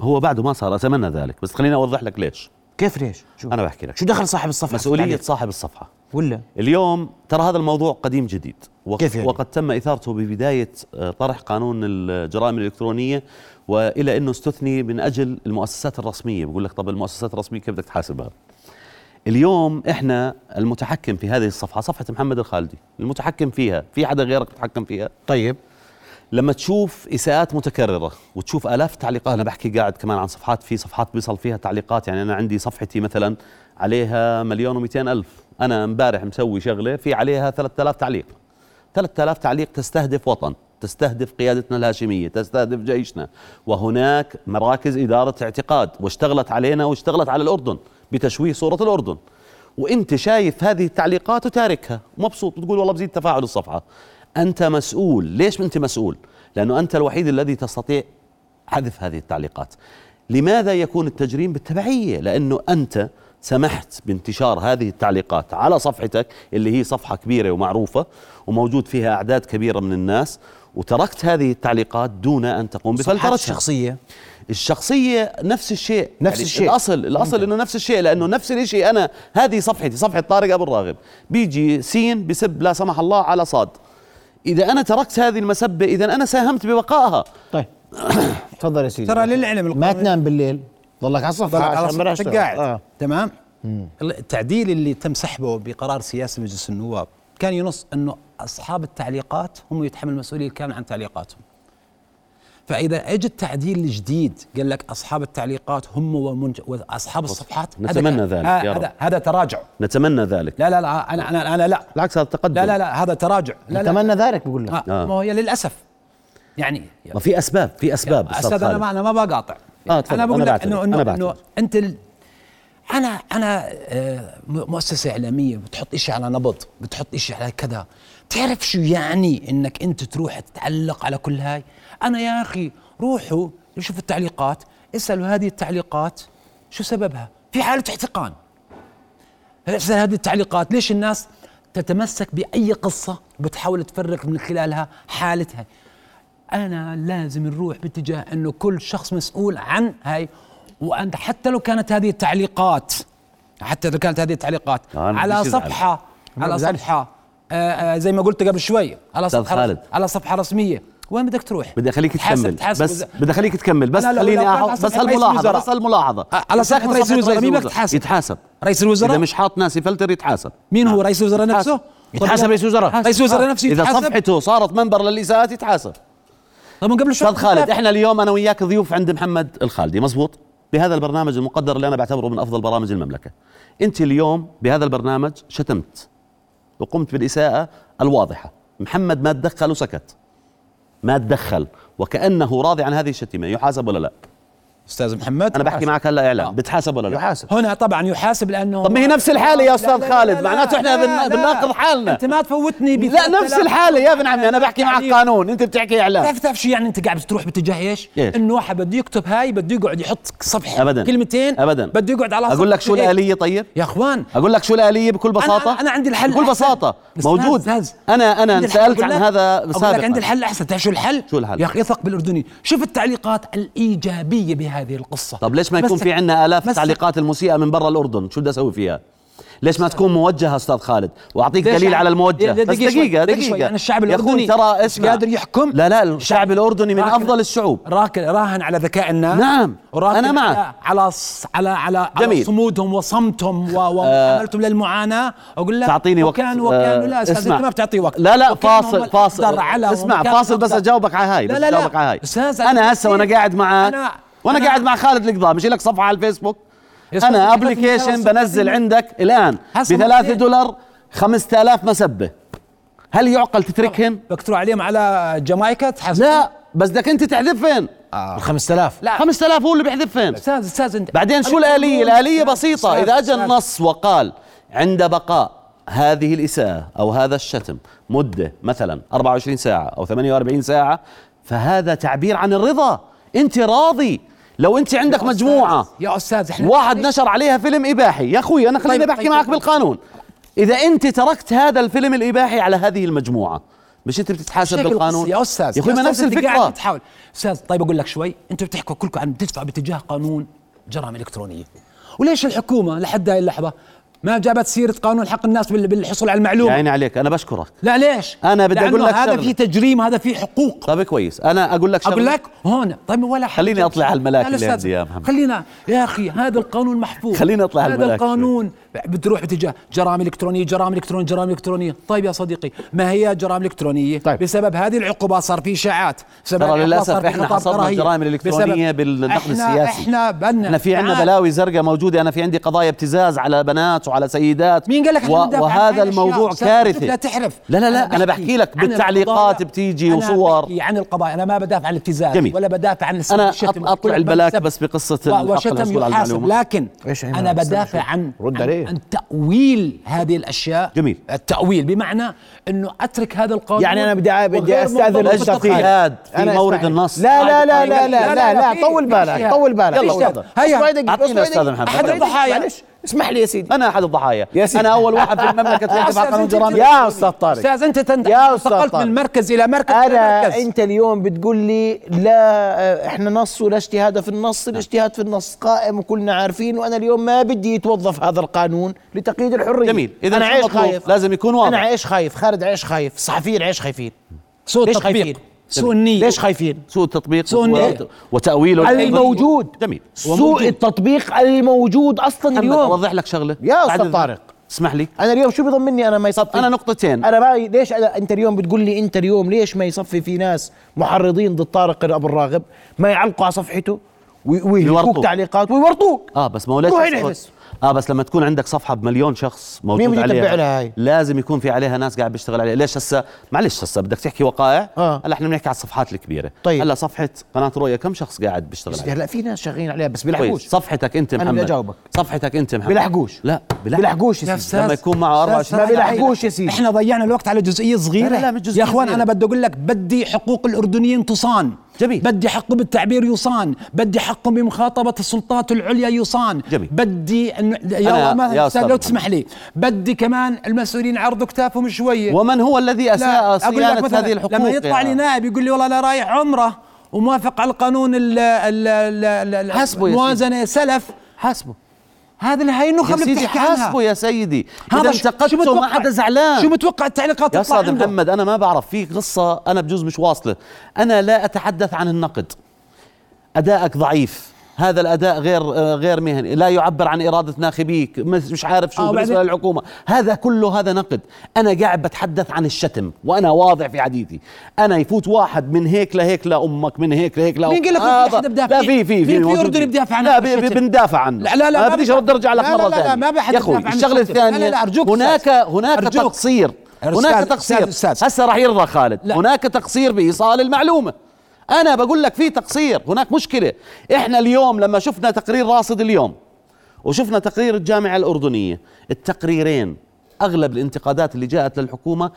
B: هو بعده ما صار أتمنى ذلك بس خليني أوضح لك ليش
A: كيف ليش شو
B: أنا بحكي لك
A: شو دخل صاحب الصفحه
B: مسؤولية
A: في
B: صاحب الصفحة
A: التعليق؟ ولا
B: اليوم ترى هذا الموضوع قديم جديد وقد,
A: كيف يعني؟
B: وقد تم إثارته ببداية آه، طرح قانون الجرائم الإلكترونية وإلى أنه استثني من أجل المؤسسات الرسمية بقول لك طب المؤسسات الرسمية كيف بدك تحاسبها اليوم احنا المتحكم في هذه الصفحه صفحه محمد الخالدي المتحكم فيها في حدا غيرك متحكم فيها
A: طيب
B: لما تشوف اساءات متكرره وتشوف الاف التعليقات انا بحكي قاعد كمان عن صفحات في صفحات بيصل فيها تعليقات يعني انا عندي صفحتي مثلا عليها مليون و الف انا امبارح مسوي شغله في عليها 3000 تعليق 3000 تعليق تستهدف وطن تستهدف قيادتنا الهاشمية تستهدف جيشنا وهناك مراكز إدارة اعتقاد واشتغلت علينا واشتغلت على الأردن بتشويه صورة الأردن وانت شايف هذه التعليقات وتاركها مبسوط وتقول والله بزيد تفاعل الصفحه انت مسؤول ليش انت مسؤول لانه انت الوحيد الذي تستطيع حذف هذه التعليقات لماذا يكون التجريم بالتبعيه لانه انت سمحت بانتشار هذه التعليقات على صفحتك اللي هي صفحه كبيره ومعروفه وموجود فيها اعداد كبيره من الناس وتركت هذه التعليقات دون ان تقوم
A: صفحات
B: بفلترتها
A: الشخصيه
B: الشخصية نفس الشيء يعني
A: نفس الشيء.
B: الأصل الأصل إنه نفس الشيء لأنه نفس الشيء أنا هذه صفحتي صفحة طارق أبو الراغب بيجي سين بسب لا سمح الله على صاد إذا أنا تركت هذه المسبة إذا أنا ساهمت ببقائها
A: طيب تفضل يا سيدي
C: ترى للعلم
A: ما
C: القانون-
A: تنام بالليل ضلك على الصفحه
C: ضلك على
A: عشان بلاش آه.
C: صفحتك
A: ترى.
C: قاعد
A: آه.
C: تمام التعديل اللي تم سحبه بقرار سياسي مجلس النواب كان ينص انه اصحاب التعليقات هم يتحمل المسؤوليه الكامله عن تعليقاتهم فاذا اجى التعديل الجديد قال لك اصحاب التعليقات هم ومنج... واصحاب الصفحات هذا
B: نتمنى
C: كان-
B: ذلك
C: آه،
B: يا
C: هذا
B: رب.
C: هذا تراجع
B: نتمنى ذلك
C: لا لا لا انا انا انا لا
B: بالعكس هذا تقدم
C: لا لا لا هذا تراجع لا لا
A: اتمنى ذلك بقول لك
C: آه.
B: آه.
C: ما هي للاسف يعني
B: ما في اسباب في اسباب أستاذ
C: استاذ انا
B: خالد.
C: ما انا ما بقاطع
B: آه، تفضل،
C: انا
B: أنا
C: بقول لك
B: بعتذر،
C: انه
B: أنا
C: انه
B: بعتذر.
C: انه انت ال... انا انا آه، م- مؤسسه اعلاميه بتحط إشي على نبض بتحط إشي على كذا تعرف شو يعني انك انت تروح تتعلق على كل هاي انا يا اخي روحوا شوفوا التعليقات اسالوا هذه التعليقات شو سببها في حاله احتقان اسال هذه التعليقات ليش الناس تتمسك باي قصه بتحاول تفرق من خلالها حالتها انا لازم نروح باتجاه انه كل شخص مسؤول عن هاي وانت حتى لو كانت هذه التعليقات حتى لو كانت هذه التعليقات
B: آه، أنا
C: على
B: بديش أزعل.
C: صفحه على
A: بزعلش.
C: صفحه آه آه زي ما قلت قبل شوي على
B: أستاذ
C: صفحه
B: خالد.
C: على صفحه رسميه وين بدك تروح
B: بدي اخليك
C: تحاسب-
B: تكمل
C: تحاسب
B: بس
C: وزا-
B: بدي اخليك تكمل بس
C: أنا لو-
B: خليني
C: لو كان
B: أح-
C: على
B: بس
C: صفحة رئيس
B: هالملاحظه
C: الوزراء.
B: بس هالملاحظه
C: آه، على صفحة رئيس الوزراء، مين بدك تحاسب؟
B: تحاسب يتحاسب
C: رئيس الوزراء
B: اذا مش حاط ناس يفلتر يتحاسب
C: مين هو رئيس الوزراء
B: يتحاسب.
C: نفسه
A: يتحاسب رئيس وزراء
C: رئيس الوزراء نفسه
B: اذا
C: يتحاسب؟
B: صفحته صارت منبر للاساءات يتحاسب
C: طب من قبل شوي
B: استاذ خالد احنا اليوم انا وياك ضيوف عند محمد الخالدي مزبوط بهذا البرنامج المقدر اللي انا بعتبره من افضل برامج المملكه انت اليوم بهذا البرنامج شتمت وقمت بالاساءه الواضحه محمد ما تدخل وسكت ما تدخل وكانه راضي عن هذه الشتيمه يحاسب ولا لا
C: استاذ محمد
B: انا بحكي معك هلا
C: آه.
B: اعلام بتحاسب ولا لا
A: يحاسب
C: هنا طبعا يحاسب لانه
B: طب ما هي نفس الحالة يا أستاذ
C: آه. لا- لا-
B: خالد،
C: لا- لا-
B: معناته إحنا
C: لا-
B: بن-
C: لا.
B: بنناقض حالنا.
C: انت ما يعني تفوتني
B: لا نفس الحاله يا ابن عمي انا بحكي معك قانون انت بتحكي اعلام
C: تعرف تعرف شو يعني انت قاعد بتروح باتجاه ايش؟
B: إيش؟
C: انه واحد بده يكتب هاي بده يقعد يحط صفحه
B: أبداً.
C: كلمتين
B: أبداً.
C: بده يقعد على
B: اقول لك شو
C: صفحة.
B: الاليه طيب
C: يا اخوان
B: اقول لك شو الاليه بكل بساطه
C: أنا- أنا عندي الحل
B: بكل
C: أحسن.
B: بساطه
C: بس
B: موجود
C: استاذ،
B: انا
C: عندي
B: انا
C: الحل.
B: سالت
C: أقول
B: عن
C: لك-
B: هذا
C: اقول لك عندي
B: سابقا
C: الحل احسن تعرف شو الحل؟
B: شو الحل؟
C: يا اخي اثق بالاردني شوف التعليقات الايجابيه بهذه القصه
B: طب ليش ما يكون
C: مسك-
B: في عندنا الاف
C: مسك-
B: التعليقات المسيئه من برا الاردن شو بدي اسوي فيها ليش ما تكون موجهه استاذ خالد واعطيك
C: ليش
B: دليل
C: يعني؟
B: على الموجه
C: دقيقة
B: بس
C: شوي،
B: دقيقه
C: دقيقة شوي.
B: دقيقه
C: أنا الشعب
B: يا أخوي
C: الأردني
B: ترى
C: مش
B: اسمع
C: قادر يحكم.
B: لا لا الشعب الاردني من
C: راكن-
B: افضل الشعوب
C: راكن راهن على ذكاء الناس
B: نعم،
C: وراكن
B: أنا معك.
C: على- على ص- على على, على
B: جميل.
C: صمودهم وصمتهم و- ومعاملتهم للمعاناه اقول لك
B: تعطيني وقت
C: وكان وكانوا لا
B: آه،
C: استاذ
B: اسمع.
C: انت ما بتعطي وقت
B: لا لا
C: وكانوا
B: فاصل
C: هم
B: فاصل
C: الأقدر على
B: اسمع
C: وهم كانوا
B: فاصل بس
C: الأقدر.
B: اجاوبك على هاي
C: لا
B: بس
C: لا لا
B: اجاوبك على هاي
C: أستاذ، أنا
B: انا هسه وانا
C: بصير-
B: قاعد معك
C: أنا-
B: وانا
C: أنا-
B: قاعد مع خالد القضاء مش لك صفحه على الفيسبوك
C: يا أستاذ،
B: انا
C: أنت بتعطيني
B: ابلكيشن
C: خلاص
B: بنزل
C: صفحتين.
B: عندك الان
C: هسه
B: ب 3
C: مرتين.
B: دولار 5000 مسبه هل يعقل تتركهن؟
C: بدك تروح عليهم على جامايكا تحاسب
B: لا بس بدك انت تحذفهن
C: آه.
A: ال 5000
C: لا.
B: 5000 هو اللي بيحذفهن
C: استاذ استاذ انت
B: بعدين شو
C: أنا-
B: الآلية؟ الآلية بسيطة
C: أستاذ،
B: إذا أجى
C: أستاذ.
B: النص وقال عند بقاء هذه الإساءة أو هذا الشتم مدة مثلا 24 ساعة أو 48 ساعة فهذا تعبير عن الرضا أنت راضي لو أنت عندك
C: أستاذ،
B: مجموعة
C: يا استاذ احنا
B: واحد نشر عليها فيلم إباحي يا أخوي أنا خليني
C: طيب،
B: بحكي
C: طيب،
B: معك
C: طيب.
B: بالقانون إذا أنت تركت هذا الفيلم الإباحي على هذه المجموعة مش أنت بتتحاسب
C: شكل
B: بالقانون
C: يا استاذ
B: يا أخوي ما
C: أستاذ
B: نفس
C: أنت قاعد
B: الفكرة
C: تحاول استاذ طيب اقول لك شوي انتم بتحكوا كلكم عن بتدفعوا باتجاه قانون جرائم الكترونيه وليش الحكومه لحد هاي اللحظه ما جابت سيره قانون حق الناس بال- بالحصول على
B: يا
C: المعلومه
B: عيني عليك أنا بشكرك
C: لا ليش
B: يعني أنا بدي أقول
C: لأنه
B: لك
C: هذا
B: شغلة.
C: في تجريم هذا في حقوق
B: طيب كويس أنا أقول لك
C: اقول
B: شغلة.
C: لك هون طيب ولا حد
B: خليني أطلع على الملاك
C: لا، لا،
B: اللي
C: أستاذ،
B: عندي يا محمد.
C: خلينا يا اخي هذا القانون محفوظ
B: خليني أطلع على
C: هذا
B: الملاك شوي.
C: القانون بتروح باتجاه جرائم الكترونيه جرائم الكترونيه جرائم الكترونيه طيب يا صديقي ما هي جرائم الكترونيه
A: طيب.
C: بسبب هذه العقوبات صار في اشاعات بسبب
B: ترى
C: العقوبات
B: للاسف
C: صار في
B: احنا
C: خطاب
B: حصرنا
C: كراهية.
B: الجرائم الالكترونيه
C: بسبب-
B: بالنقد
C: إحنا-
B: السياسي
C: احنا بدنا
B: احنا في عندنا
C: نعم. تعال.
B: بلاوي زرقاء موجوده انا في عندي قضايا ابتزاز على بنات وعلى سيدات
C: مين قال لك إحنا
B: و...
C: بندافع عن هاي
B: وهذا
C: الأشياء؟
B: الموضوع
C: أستاذ،
B: كارثي
C: أنت لا تحرف
B: لا لا لا انا بحكي لك
C: عن
B: بالتعليقات
C: القضايا.
B: بتيجي
C: أنا
B: وصور
C: بحكي عن القضايا انا ما بدافع عن الابتزاز
B: جميل.
C: ولا بدافع عن
B: أنا
C: الشتم
B: أط- أطلع
C: وكل
B: البلاك
C: بسبب.
B: بس بقصة
C: و-
B: الحق على
C: وشتم
B: الوصول على
C: يحاسب
B: المعلومة.
C: لكن
A: إيش هي
C: انا
A: المعلومة؟ استنى
C: بدافع
A: شوي.
C: عن
A: رد
C: عن-
A: عليه.
C: عن تاويل هذه الاشياء
B: جميل.
C: التاويل بمعنى انه اترك هذا القانون
A: يعني انا بدي ع- بدي
C: وغير
A: استاذن
C: مرتبط
B: أجل
A: اجتهاد
C: بالتقنية.
B: اجتهاد في مورد النص.
A: لا لا لا لا
C: لا،
A: لا لا
C: لا،
A: لا
C: في-
A: طول
C: في
A: بالك
C: اجتهاد.
A: طول بالك
C: يلا،
A: طول
C: تفضل.
A: بالك
C: هيا.
A: أسبوع دقيقة،
B: أعطينا
A: أسبوع
B: أستاذ
A: دقيقة.
B: محمد.
A: أحد
B: تفضل.
A: الضحايا معلش اسمح لي يا سيدي
B: انا احد الضحايا
A: يا سيدي.
B: انا اول واحد في المملكه تكلف على
C: أستاذ
B: قانون
C: أنت
B: جرائم
C: تنتقل-
A: يا أستاذ طارق.
C: استاذ انت تنت-
A: يا أستاذ
C: انتقلت
A: طارق.
C: من مركز الى مركز الى
A: انا
C: مركز
A: انت اليوم بتقول لي لا احنا نص ولا اجتهاد في النص الاجتهاد في النص قائم وكلنا عارفين وانا اليوم ما بدي يتوظف هذا القانون لتقييد الحريه
B: جميل. إذا
A: انا
B: شو
A: عايش
B: مطلوب؟
A: خايف
B: لازم يكون واضح.
A: انا عايش خايف خالد عايش خايف الصحفيين عايش خايفين
C: سوء
A: ليش
C: التطبيق
A: خايفين؟
C: سوء النية
A: ليش خايفين
B: سوء التطبيق
C: سوء
B: وت-
C: النية.
B: وتاويله
A: على
B: الأيضاً.
A: الموجود
B: جميل
A: سوء التطبيق الموجود اصلا
B: محمد
A: اليوم
B: اوضح لك شغله
A: يا
B: بعد
A: استاذ
B: إذنك.
A: طارق
B: اسمح لي
A: انا اليوم شو بيضمني انا ما يصفي
B: انا نقطتين
A: انا ما ليش أنا انت اليوم بتقول لي انت اليوم ليش ما يصفي في ناس محرضين ضد طارق ابو الراغب ما يعلقوا على صفحته وي- ويهلكوك
B: يورطوك.
A: تعليقات ويورطوك
B: اه بس ما هو ليش
A: روح
B: الصف-
A: انحبس.
B: اه بس لما تكون عندك صفحه بمليون شخص
A: مين
B: موجود
A: بده يتبع
B: عليها
A: لها هاي؟
B: لازم يكون في عليها ناس قاعد بيشتغل عليها ليش هسه معلش هسه بدك تحكي وقائع
A: آه.
B: هلا احنا بنحكي على الصفحات الكبيره
A: طيب.
B: هلا صفحه قناه رؤيا كم شخص قاعد بيشتغل عليها
A: هلا في ناس شغالين عليها بس
B: كويس
A: بيلحقوش
B: صفحتك انت
A: أنا
B: محمد
A: بدي أجاوبك.
B: صفحتك انت محمد
A: بيلحقوش
B: لا
A: بيلحقوش يا
C: يا
A: سيدي.
C: أستاذ،
B: لما يكون معه 24
A: ما
C: أستاذ، إحنا-
A: بيلحقوش يا سيدي.
C: احنا ضيعنا الوقت على جزئيه صغيره
B: لا، لا، مش جزئية
C: يا اخوان
B: صغيرة.
C: انا بدي اقول لك بدي حقوق الاردنيين تصان
B: جميل.
C: بدي حقهم بالتعبير يصان بدي حقهم بمخاطبه السلطات العليا يصان
B: جميل.
C: بدي إنه- يا
B: أنا- يا
C: الله أستاذ
B: أستاذ
C: لو
B: محمد.
C: تسمح لي بدي كمان المسؤولين عرضوا كتافهم شويه
B: ومن هو الذي اساء
C: لا، أقول لك
B: صيانه
C: مثلاً
B: هذه الحقوق
C: لما يطلع لي نائب يقول لي والله انا رايح عمره وموافق على القانون ال ال ال- ال-
B: حسبه يا
C: الموازنه سلف
B: حاسبه
C: هذا اللي هي النخب
B: يا
C: اللي
B: سيدي
C: بتحكي عنها
B: حاسبه يا سيدي
C: هذا
B: اذا
C: شو- شو
B: انتقدته ما
C: متوقع-
B: حدا زعلان
C: شو متوقع التعليقات
B: يا
C: تطلع
B: استاذ
C: عنده؟
B: محمد انا ما بعرف في قصه انا بجوز مش واصله انا لا اتحدث عن النقد ادائك ضعيف هذا الاداء غير آه، غير مهني لا يعبر عن اراده ناخبيك مس- مش عارف
C: آه،
B: شو
C: وبعدين؟
B: بالنسبه للحكومه هذا كله هذا نقد انا قاعد بتحدث عن الشتم وانا واضع في حديثي انا يفوت واحد من هيك لهيك لامك من هيك لهيك لامك
C: مين قال لك ما في حدا بدافع؟
B: لا في في
C: مين في
B: موجود.
C: أردني بدافع عن
B: لا
C: الشتم؟
B: بي- بي- بندافع عنه
C: لا- لا- لا،
B: ما
C: ما
B: بديش
C: بدافع-
B: ارد ارجع لك
C: لا- لا-
B: مره
C: لا- لا،
B: ثانيه
C: ما بحد
B: يا اخوي
C: بدافع عن
B: الشغله
C: الشتم. لا- لا-
B: الثانيه
C: لا، أرجوك
B: هناك
C: أستاذ.
B: هناك
C: أرجوك.
B: تقصير
C: أستاذ-
B: هناك
C: أستاذ-
B: تقصير
C: أستاذ.
B: هسه راح يرضى خالد
C: لا.
B: هناك تقصير بايصال المعلومه انا بقول لك في تقصير هناك مشكله احنا اليوم لما شفنا تقرير راصد اليوم وشفنا تقرير الجامعه الاردنيه التقريرين اغلب الانتقادات اللي جاءت للحكومه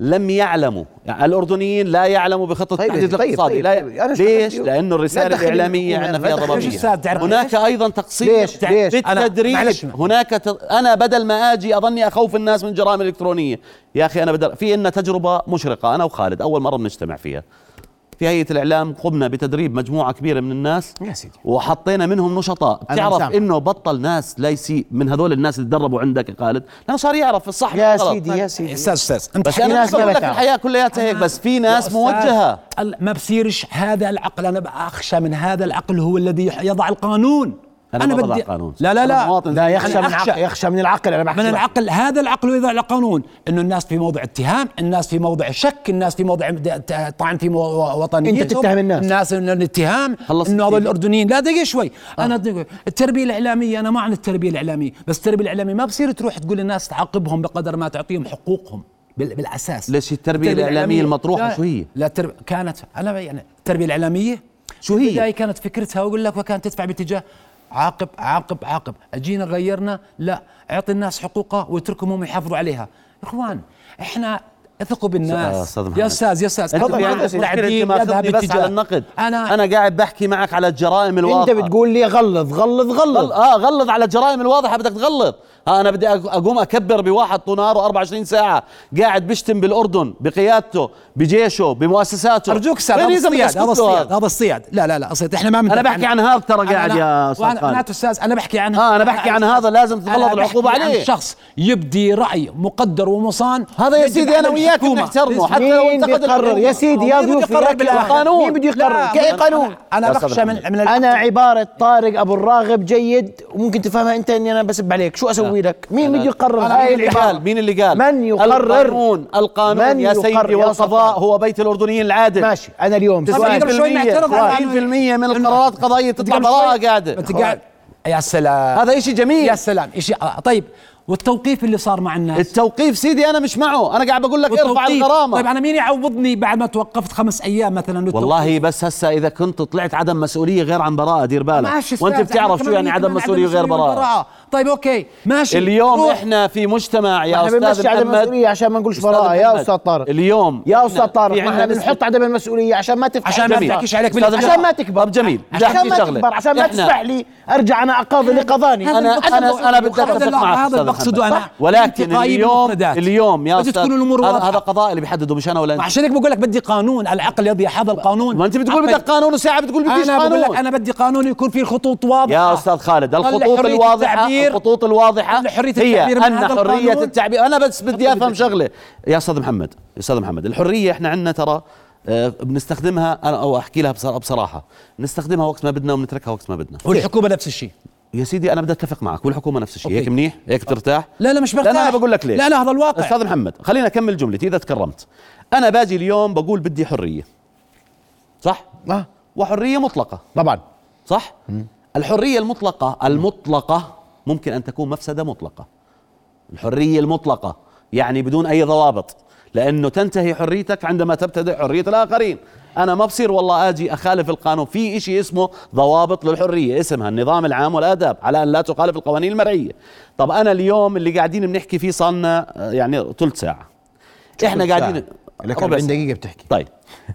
B: لم يعلموا يعني الاردنيين لا يعلموا بخطه
A: طيب يا
B: التحديد
A: سيدي، طيب،
B: الاقتصادي
A: طيب،
B: لا
A: طيب، أنا شو
B: ليش
A: بدي-
B: لانه
A: لا
B: الرساله
A: دخل
B: الاعلاميه
A: الحكومة،
B: عندنا
A: لا
B: فيها
A: دخل
C: ليش
B: ضربيه
C: الأستاذ تعرف
B: هناك ايضا تقصير
A: ليش؟ ليش؟ أنا-
B: بالتدريج
A: معلش.
B: هناك ت... انا بدل ما اجي اظني اخوف الناس من جرائم الكترونيه يا اخي انا بدل في لنا تجربه مشرقه انا وخالد اول مره بنجتمع فيها في هيئه الاعلام قمنا بتدريب مجموعه كبيره من الناس
A: يا سيدي.
B: وحطينا منهم نشطاء
A: أنا
B: بتعرف
A: مسامح.
B: انه بطل ناس لا يسيء من هذول الناس اللي تدربوا عندك يا خالد لانه صار يعرف الصح من
A: يا
B: الغلط.
A: سيدي يا سيدي
C: استاذ استاذ انت
B: بس
A: في
B: انا
A: ناس
B: مش بقول
A: ما
B: لك
A: بتعرف.
B: الحياه كلياتها هيك بس في ناس موجهه
C: ال- ما بصيرش هذا العقل انا اخشى من هذا العقل هو الذي يح- يضع القانون
B: أنا ما بضع قانون.
C: لا لا
B: أنا
C: لا
B: مواطن.
A: لا يخشى
C: أنا
A: من
C: أخشى.
A: العقل يخشى من العقل انا بحكي
C: من
A: معك.
C: العقل هذا العقل يضع القانون انه الناس في موضع اتهام الناس في موضع شك الناس في موضع د- ت- طعن في مو- وطنيتهم
A: أنت تتهم الناس.
C: الناس انه الاتهام
B: خلصت
C: انه هذول
B: فيه.
C: الاردنيين لا دقيقه شوي
A: آه.
C: انا دقيقة. التربيه الاعلاميه انا ما عن التربيه الاعلاميه بس التربيه الاعلاميه ما بصير تروح تقول للناس تعاقبهم بقدر ما تعطيهم حقوقهم بال- بالاساس
B: ليش التربية الإعلامية المطروحة
C: لا-
B: شو هي؟
C: لا ترب... كانت انا يعني التربيه الاعلاميه شو
B: إيه.
C: هي؟ البدايه كانت فكرتها واقول لك وكانت تدفع باتجاه عاقب عاقب عاقب اجينا غيرنا لا اعطي الناس حقوقها واتركهم هم يحافظوا عليها اخوان احنا اثقوا
B: آه،
C: بالناس
B: أستاذ محمد.
C: يا استاذ يا استاذ
B: انت
A: تفضل،
B: في
A: تفضل
B: عندك
A: سيدي.
B: مشكلة
C: التعديل
B: انت ماخذني
C: يذهب
B: بس
C: باتجاه.
B: على النقد
C: أنا-
B: انا قاعد بحكي معك على جرائم
A: انت
B: الواضحة
A: بتقول لي غلط غلط
B: غل...
A: غلط
B: اه غلط على الجرائم الواضحة بدك تغلط ها انا بدي أق- اقوم اكبر بواحد طول نهاره 24 ساعة قاعد بشتم بالاردن بقيادته بجيشه بمؤسساته
C: ارجوك استاذ
B: وين
C: هذا
B: يا زلمة اسكت
C: الصياد هذا
B: له
C: الصياد
B: هذا؟
C: هذا الصياد لا لا لا الصياد احنا ما
B: انا بحكي عن هذا ترى قاعد يا استاذ
C: استاذ انا
B: خالد
C: استاذ انا بحكي عن
B: اه انا بحكي عن هذا لازم
C: أنا
B: تتغلط
C: بحكي
B: العقوبة
C: عن
B: عليه
C: شخص يبدي راي مقدر ومصان
B: هذا يا
C: يجب
B: سيدي
C: على
B: انا وياك
C: الحكومة.
B: نحترمه حتى لو
A: مين
B: انتقد
A: بيقرر يا
B: الحكومة.
A: سيدي يا
C: مين بده
A: ضيوفي
C: يقرر
A: يا أكل
C: بالقانون؟
A: القانون مين بده يقرر
C: لا،
A: كأي
C: أنا-
A: قانون
C: انا
B: يا أستاذ
C: بخشى من
B: محمد.
C: من
A: انا عباره طارق ابو الراغب جيد وممكن تفهمها انت اني انا بسب عليك شو اسوي لك مين بده يقرر
B: أنا
A: هاي
B: مين اللي قال
A: العباره
B: مين اللي قال
A: من يقرر
B: القانون القانون
A: من
B: يا
A: يقرر؟
B: سيدي
A: يا
B: والقضاء
A: سلطان.
B: هو بيت الاردنيين العادل
A: ماشي انا اليوم
C: طب
A: سؤال.
C: يقدر شوي نعترض على
B: 90% من القرارات القضائية تطلع
C: قبل
B: براءة
C: شوي
B: قاعدة
C: أنت قاعد- يا سلام
B: هذا شيء جميل
C: يا سلام إشي آه، طيب والتوقيف اللي صار مع الناس
B: التوقيف سيدي أنا مش معه أنا قاعد بقول لك ارفع
C: والتوقيف.
B: الغرامة
C: طيب انا مين يعوضني بعد ما توقفت خمس ايام مثلا والتوقيف؟
B: والله بس هسا إذا كنت طلعت عدم مسؤولية غير عن براءة دير بالك
C: ماشي
B: وأنت
C: أستاذ،
B: بتعرف
C: أنا
B: شو
C: كمان
B: يعني
C: مين
B: عدم
C: كمان
B: مسؤولية غير براءة
C: طيب اوكي ماشي
B: اليوم
C: روح.
B: احنا في مجتمع
A: ما
B: يا
A: احنا
B: استاذ
A: بنمشي عدم
B: محمد
A: المسؤوليه عشان ما نقولش
B: أستاذ
A: براءه يا
B: محمد،
A: استاذ طارق
B: اليوم
A: يا استاذ طارق
B: في
A: ما
B: عندنا
A: احنا
B: نسبة-
A: بنحط عدم المسؤوليه عشان ما تفتح
C: عشان ما
A: جميل.
C: تحكيش عليك
B: أستاذ
C: بالله
A: عشان ما تكبر
B: طب جميل بدي
A: عشان
B: أحكي
A: ما
B: شغلة.
A: تكبر عشان ما
B: إحنا-
A: تسمح لي ارجع انا اقاضي لقضاني
B: انا انا انا بدي اتفق
C: هذا لا،
B: معك
C: هذا
B: أستاذ
C: اللي بقصده
B: محمد.
C: أنا.
B: ولكن
C: انتقائي
B: اليوم
C: بالمفردات.
B: اليوم يا
C: بدها
B: استاذ
C: تكون الأمور
B: هذا
C: واضحة.
B: هذا قضاء اللي بيحدده مش انا ولا انت
C: عشان هيك بقول لك بدي قانون العقل يضيع هذا القانون
B: ما انت بتقول بدك
C: عقل.
B: قانون وساعه بتقول بديش
C: انا بقول
B: قانون
C: لك انا بدي قانون يكون فيه خطوط واضحه
B: يا استاذ خالد
C: طلع
B: الخطوط
C: حرية
B: الواضحه
C: التعبير.
B: الخطوط الواضحه
C: طلع حرية
B: هي
C: التعبير من
B: ان
C: هذا
B: حريه
C: القانون.
B: التعبير انا بس بدي افهم شغله يا استاذ محمد يا استاذ محمد الحريه احنا عندنا ترى آه، بنستخدمها انا او احكي لها بصرا- بصراحه بنستخدمها وقت ما بدنا وبنتركها وقت ما بدنا
C: والحكومه نفس الشيء
B: يا سيدي انا بدي اتفق معك والحكومه نفس الشيء
E: أوكي.
B: هيك منيح هيك بترتاح
E: لا لا مش
B: لا
E: برتاح
B: لا، أنا بقول لك ليش.
E: لا لا هذا الواقع
B: استاذ محمد خلينا اكمل جملتي اذا تكرمت انا باجي اليوم بقول بدي حريه صح
A: آه.
B: وحريه مطلقه
A: طبعا
B: صح الحريه المطلقه المطلقه ممكن ان تكون مفسده مطلقه الحريه المطلقه يعني بدون اي ضوابط لانه تنتهي حريتك عندما تبتدئ حريه الاخرين انا ما بصير والله اجي اخالف القانون في إشي اسمه ضوابط للحريه اسمها النظام العام والاداب على ان لا تخالف القوانين المرعيه طب انا اليوم اللي قاعدين بنحكي فيه صارنا آه، يعني ثلث ساعه احنا قاعدين
A: لك
B: ربع
A: 40
B: ساعة.
A: دقيقه بتحكي
B: طيب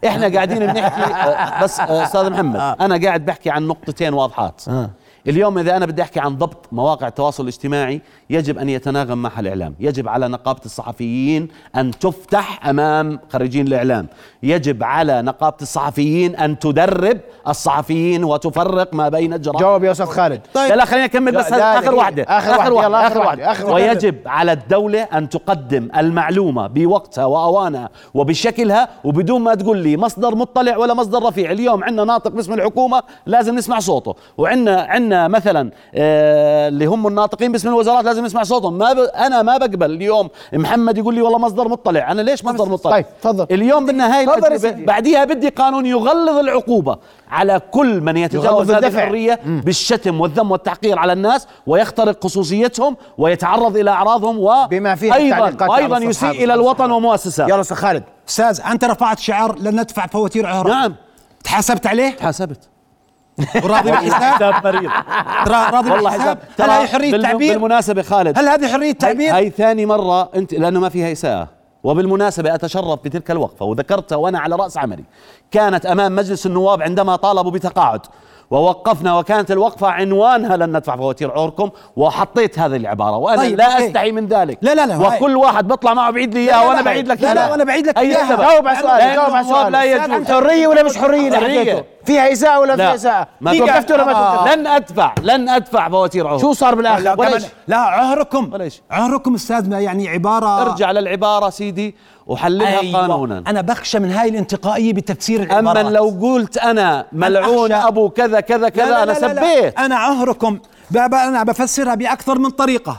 B: احنا قاعدين بنحكي آه، بس آه، استاذ محمد انا قاعد بحكي عن نقطتين واضحات
A: آه.
B: اليوم اذا انا بدي احكي عن ضبط مواقع التواصل الاجتماعي يجب ان يتناغم معها الاعلام يجب على نقابه الصحفيين ان تفتح امام خريجين الاعلام يجب على نقابه الصحفيين ان تدرب الصحفيين وتفرق ما بين الجرائم
A: جاوب يا استاذ خالد
B: لا لا خلينا نكمل بس
A: طيب. لا، لا،
B: هذا اخر
A: دقيقة.
B: واحده
A: آخر واحدة، يلا، آخر واحدة، آخر واحدة.
B: ويجب على الدوله ان تقدم المعلومه بوقتها واوانها وبشكلها وبدون ما تقول لي مصدر مطلع ولا مصدر رفيع اليوم عندنا ناطق باسم الحكومه لازم نسمع صوته وعندنا عندنا مثلا آه اللي هم الناطقين باسم الوزارات لازم نسمع صوتهم ما ب... انا ما بقبل اليوم محمد يقول لي والله مصدر مطلع انا ليش مصدر مطلع
A: طيب، تفضل.
B: اليوم بدنا هاي
A: تفضل يا
B: التجربة.
A: سيدي.
B: بعديها بدي قانون يغلظ العقوبه على كل من يتجاوز
A: يغلظ
B: هذه
A: الدفع.
B: الحريه بالشتم والذم والتحقير على الناس ويخترق خصوصيتهم ويتعرض الى اعراضهم و
A: بما فيه التعليقات
B: ايضا
A: على
B: وايضا
A: الصحابة.
B: يسيء الى الوطن ومؤسساته
A: يلا استاذ خالد
C: استاذ انت رفعت شعار لن ندفع فواتير عهرة
B: نعم.
C: تحاسبت عليه
B: حاسبت
C: وراضي بالحساب
B: حساب مريض
C: را- راضي
B: والله
C: بالحساب
B: حساب
C: هل
B: ترى
C: هي حريه
B: بالم-
C: تعبير
B: بالمناسبه خالد
C: هل هذه حريه تعبير
B: طيب. هاي ثاني مرة أنت لأنه ما فيها إساءة وبالمناسبة أتشرف بتلك الوقفة وذكرتها وأنا على رأس عملي كانت أمام مجلس النواب عندما طالبوا بتقاعد ووقفنا وكانت الوقفة عنوانها لن ندفع فواتير عوركم وحطيت هذه العبارة وأنا
C: طيب،
B: طيب لا
C: أوكي.
B: أستحي من ذلك
C: لا، لا، لا، هاي.
B: وكل واحد بطلع معه بعيد لي إياها
C: لا،
B: وأنا
C: هاي.
B: بعيد لك
C: لا، لا،
B: إياها.
C: وأنا بعيد لك
B: أي
C: إياها.
B: سبب.
A: جاوب على سؤالي
B: لأن
A: جاوب على
B: النواب
A: سؤالي
B: لا
A: أستاذ،
B: يجوز
A: أنت حريه ولا مش حريه اللي
B: حرية.
A: حكيته فيها اساءه ولا فيها
B: لا
A: اساءه
B: ما آه.
A: توقفت ولا ما توقفت
B: لن أدفع لن أدفع فواتير عوركم
A: شو صار بالاخر
B: ولا
A: ولا
B: شيء.
A: شيء.
C: لا عهركم
B: ولا شيء.
C: عهركم استاذ ما يعني عباره
B: ارجع للعبارة سيدي وحللها
C: أيوة.
B: قانونا
C: انا بخشى من هاي الانتقائيه بتفسير العبارات
B: اما لو قلت انا ملعون
C: أخشى.
B: ابو كذا كذا كذا انا سبيت
C: انا عهركم ب- ب- انا بفسرها باكثر من طريقه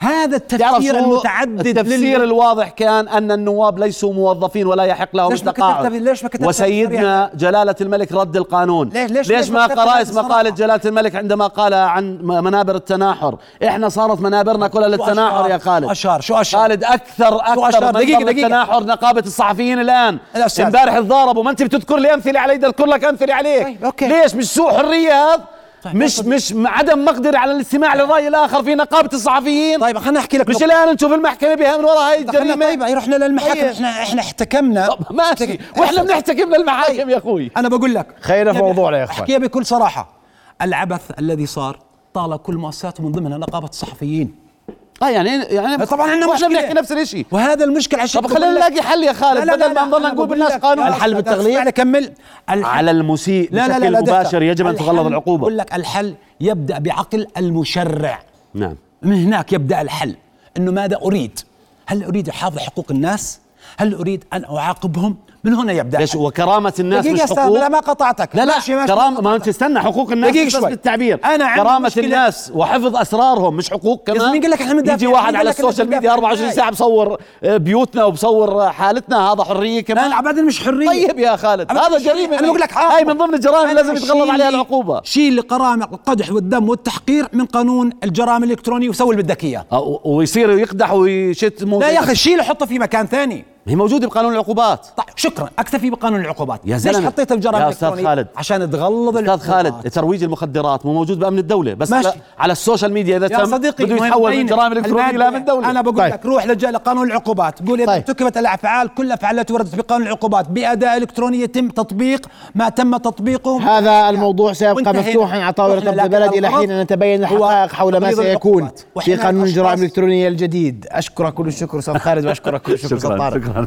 C: هذا
B: تعرف
C: التفسير
B: شو؟
C: المتعدد
B: التفسير
C: لل-
B: الواضح كان ان النواب ليسوا موظفين ولا يحق لهم
C: ليش ما
B: التقاعد
C: كتبت- ليش ما كتبت
B: وسيدنا جلاله الملك رد القانون
C: ليش- ليش-
B: ليش
C: ليش
B: ما
C: ما كتبت
B: قرأت
C: بصراحة؟
B: مقاله جلاله الملك عندما قال عن م- منابر التناحر احنا صارت منابرنا كلها
C: شو
B: للتناحر
C: أشهر؟
B: يا خالد
C: أشهر، شو أشهر؟
B: خالد اكثر اكثر
C: أشهر؟
B: منبر
C: دقيقة- دقيقة.
B: التناحر نقابه الصحفيين الان
C: لا، أستاذ.
B: امبارح تضاربوا ما انت بتذكر لي امثله علي بدي اذكر لك امثله عليك
C: طيب، أوكي. طيب،
B: ليش مش سوء حريه هذا مش مش عدم مقدره على الاستماع للراي الاخر في نقابه الصحفيين
C: طيب خلينا احكي لك
B: مش
C: نقطة.
B: الان نشوف المحكمه بها من وراء هاي
C: خلينا
B: الجريمه
C: طيب رحنا للمحاكم
B: طيب.
C: احنا احنا احتكمنا
B: طب ماشي واحنا بنحتكم
C: طيب.
B: للمحاكم يا اخوي
C: انا بقول لك يعني
A: خلينا في
C: أحكيها
A: موضوعنا يا
C: ب-
A: إخوان.
C: احكيها بكل صراحه العبث الذي صار طال كل مؤسسات من ضمنها نقابه الصحفيين
B: اه
C: طيب،
B: يعني يعني
C: طبعا عندنا
B: واحنا
C: مشكله
B: بنحكي نفس الشيء
C: وهذا المشكله عشان
B: طب
C: بقول
B: خلينا
C: لك-
B: نلاقي حل يا خالد
C: لا، لا،
B: بدل
C: لا،
B: ما
C: لا،
B: نضلنا
C: أنا
B: نقول
C: بقول
B: بالناس
C: لك-
B: قانون
C: لا، لا،
B: الحل
C: لا،
B: بالتغليب
C: اسمعني كمل
B: على المسيء
C: لا لا لا
B: بشكل
C: لا دقيقة.
B: مباشر يجب ان تغلظ
C: الحل-
B: العقوبه
C: بقول لك الحل يبدا بعقل المشرع
B: نعم
C: من هناك يبدا الحل انه ماذا اريد؟ هل اريد احافظ حقوق الناس؟ هل اريد ان اعاقبهم؟ من هنا يبدا
B: ليش
C: الحل.
B: وكرامه الناس
C: دقيقة
B: مش
C: يا أستاذ،
B: حقوق
C: لا ما قطعتك
B: لا لا
C: ماشي ماشي
B: كرامة ما انت استنى حقوق الناس
C: دقيقة
B: مش بس
C: شوي.
B: بالتعبير
C: أنا عندي
B: كرامة
C: مشكلة.
B: الناس وحفظ اسرارهم مش حقوق كمان
C: يا زلمة مين قال لك إحنا بندافع؟
B: يجي
C: مين
B: واحد
C: قال
B: على
C: لك إنك
B: السوشيال ميديا
C: بتدافع؟
B: 24 ساعة بصور آه، بيوتنا وبصور آه، حالتنا هذا حرية
C: لا
B: كمان
C: لا ابدا مش حريه
B: طيب يا خالد
C: أبداً
B: هذا
C: مش حرية.
B: جريمة
C: انا بقول لك عاقبة.
B: هاي من ضمن الجرائم
C: أنا
B: لازم يتغلظ
C: شيل
B: عليها
C: لي-
B: العقوبة
C: شيل القرامه القدح والدم والتحقير من قانون الجرائم الالكترونيه وسوي اللي بدك اياه
B: آه، و- ويصير يقدح ويشتم
C: لا يا اخي شيله حطه في مكان ثاني
B: هي موجودة بقانون العقوبات
C: طيب شكرا اكتفي بقانون العقوبات
B: يا زلمة.
C: ليش حطيته
B: يا
C: بجرائم
B: أستاذ
C: الكترونيه
B: خالد.
C: عشان تغلظ
B: استاذ خالد ترويج المخدرات مو موجود بامن الدوله بس
C: ماشي.
B: على- على السوشيال ميديا اذا
C: يا
B: تم
C: صديقي
B: بده
C: مهم
B: يتحول من
C: بينك.
B: جرائم الكترونيه
C: المادة.
B: الى من الدوله
C: انا بقول
A: طيب.
C: لك روح لجا لقانون العقوبات قول اذا
A: طيب.
C: ارتكبت الافعال كل الافعال التي وردت بقانون العقوبات باداء الكتروني يتم تطبيق ما تم تطبيقه
A: هذا الموضوع سيبقى
C: يعني وانتهينا.
A: مفتوحا على طاولة
C: رحنا
A: رب
C: لكن
A: البلد إلى
C: الغرض
A: حين أن تبين
C: هو
A: الحقائق حول ما
C: تقليل
A: سيكون
C: العقوبات.
A: في
C: وإحنا
A: قانون الجرائم
C: الأشخاص-
A: الإلكترونية الجديد أشكرك كل الشكر أستاذ خالد وأشكرك كل الشكر أستاذ طارق
B: شكرا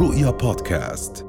D: رؤيا بودكاست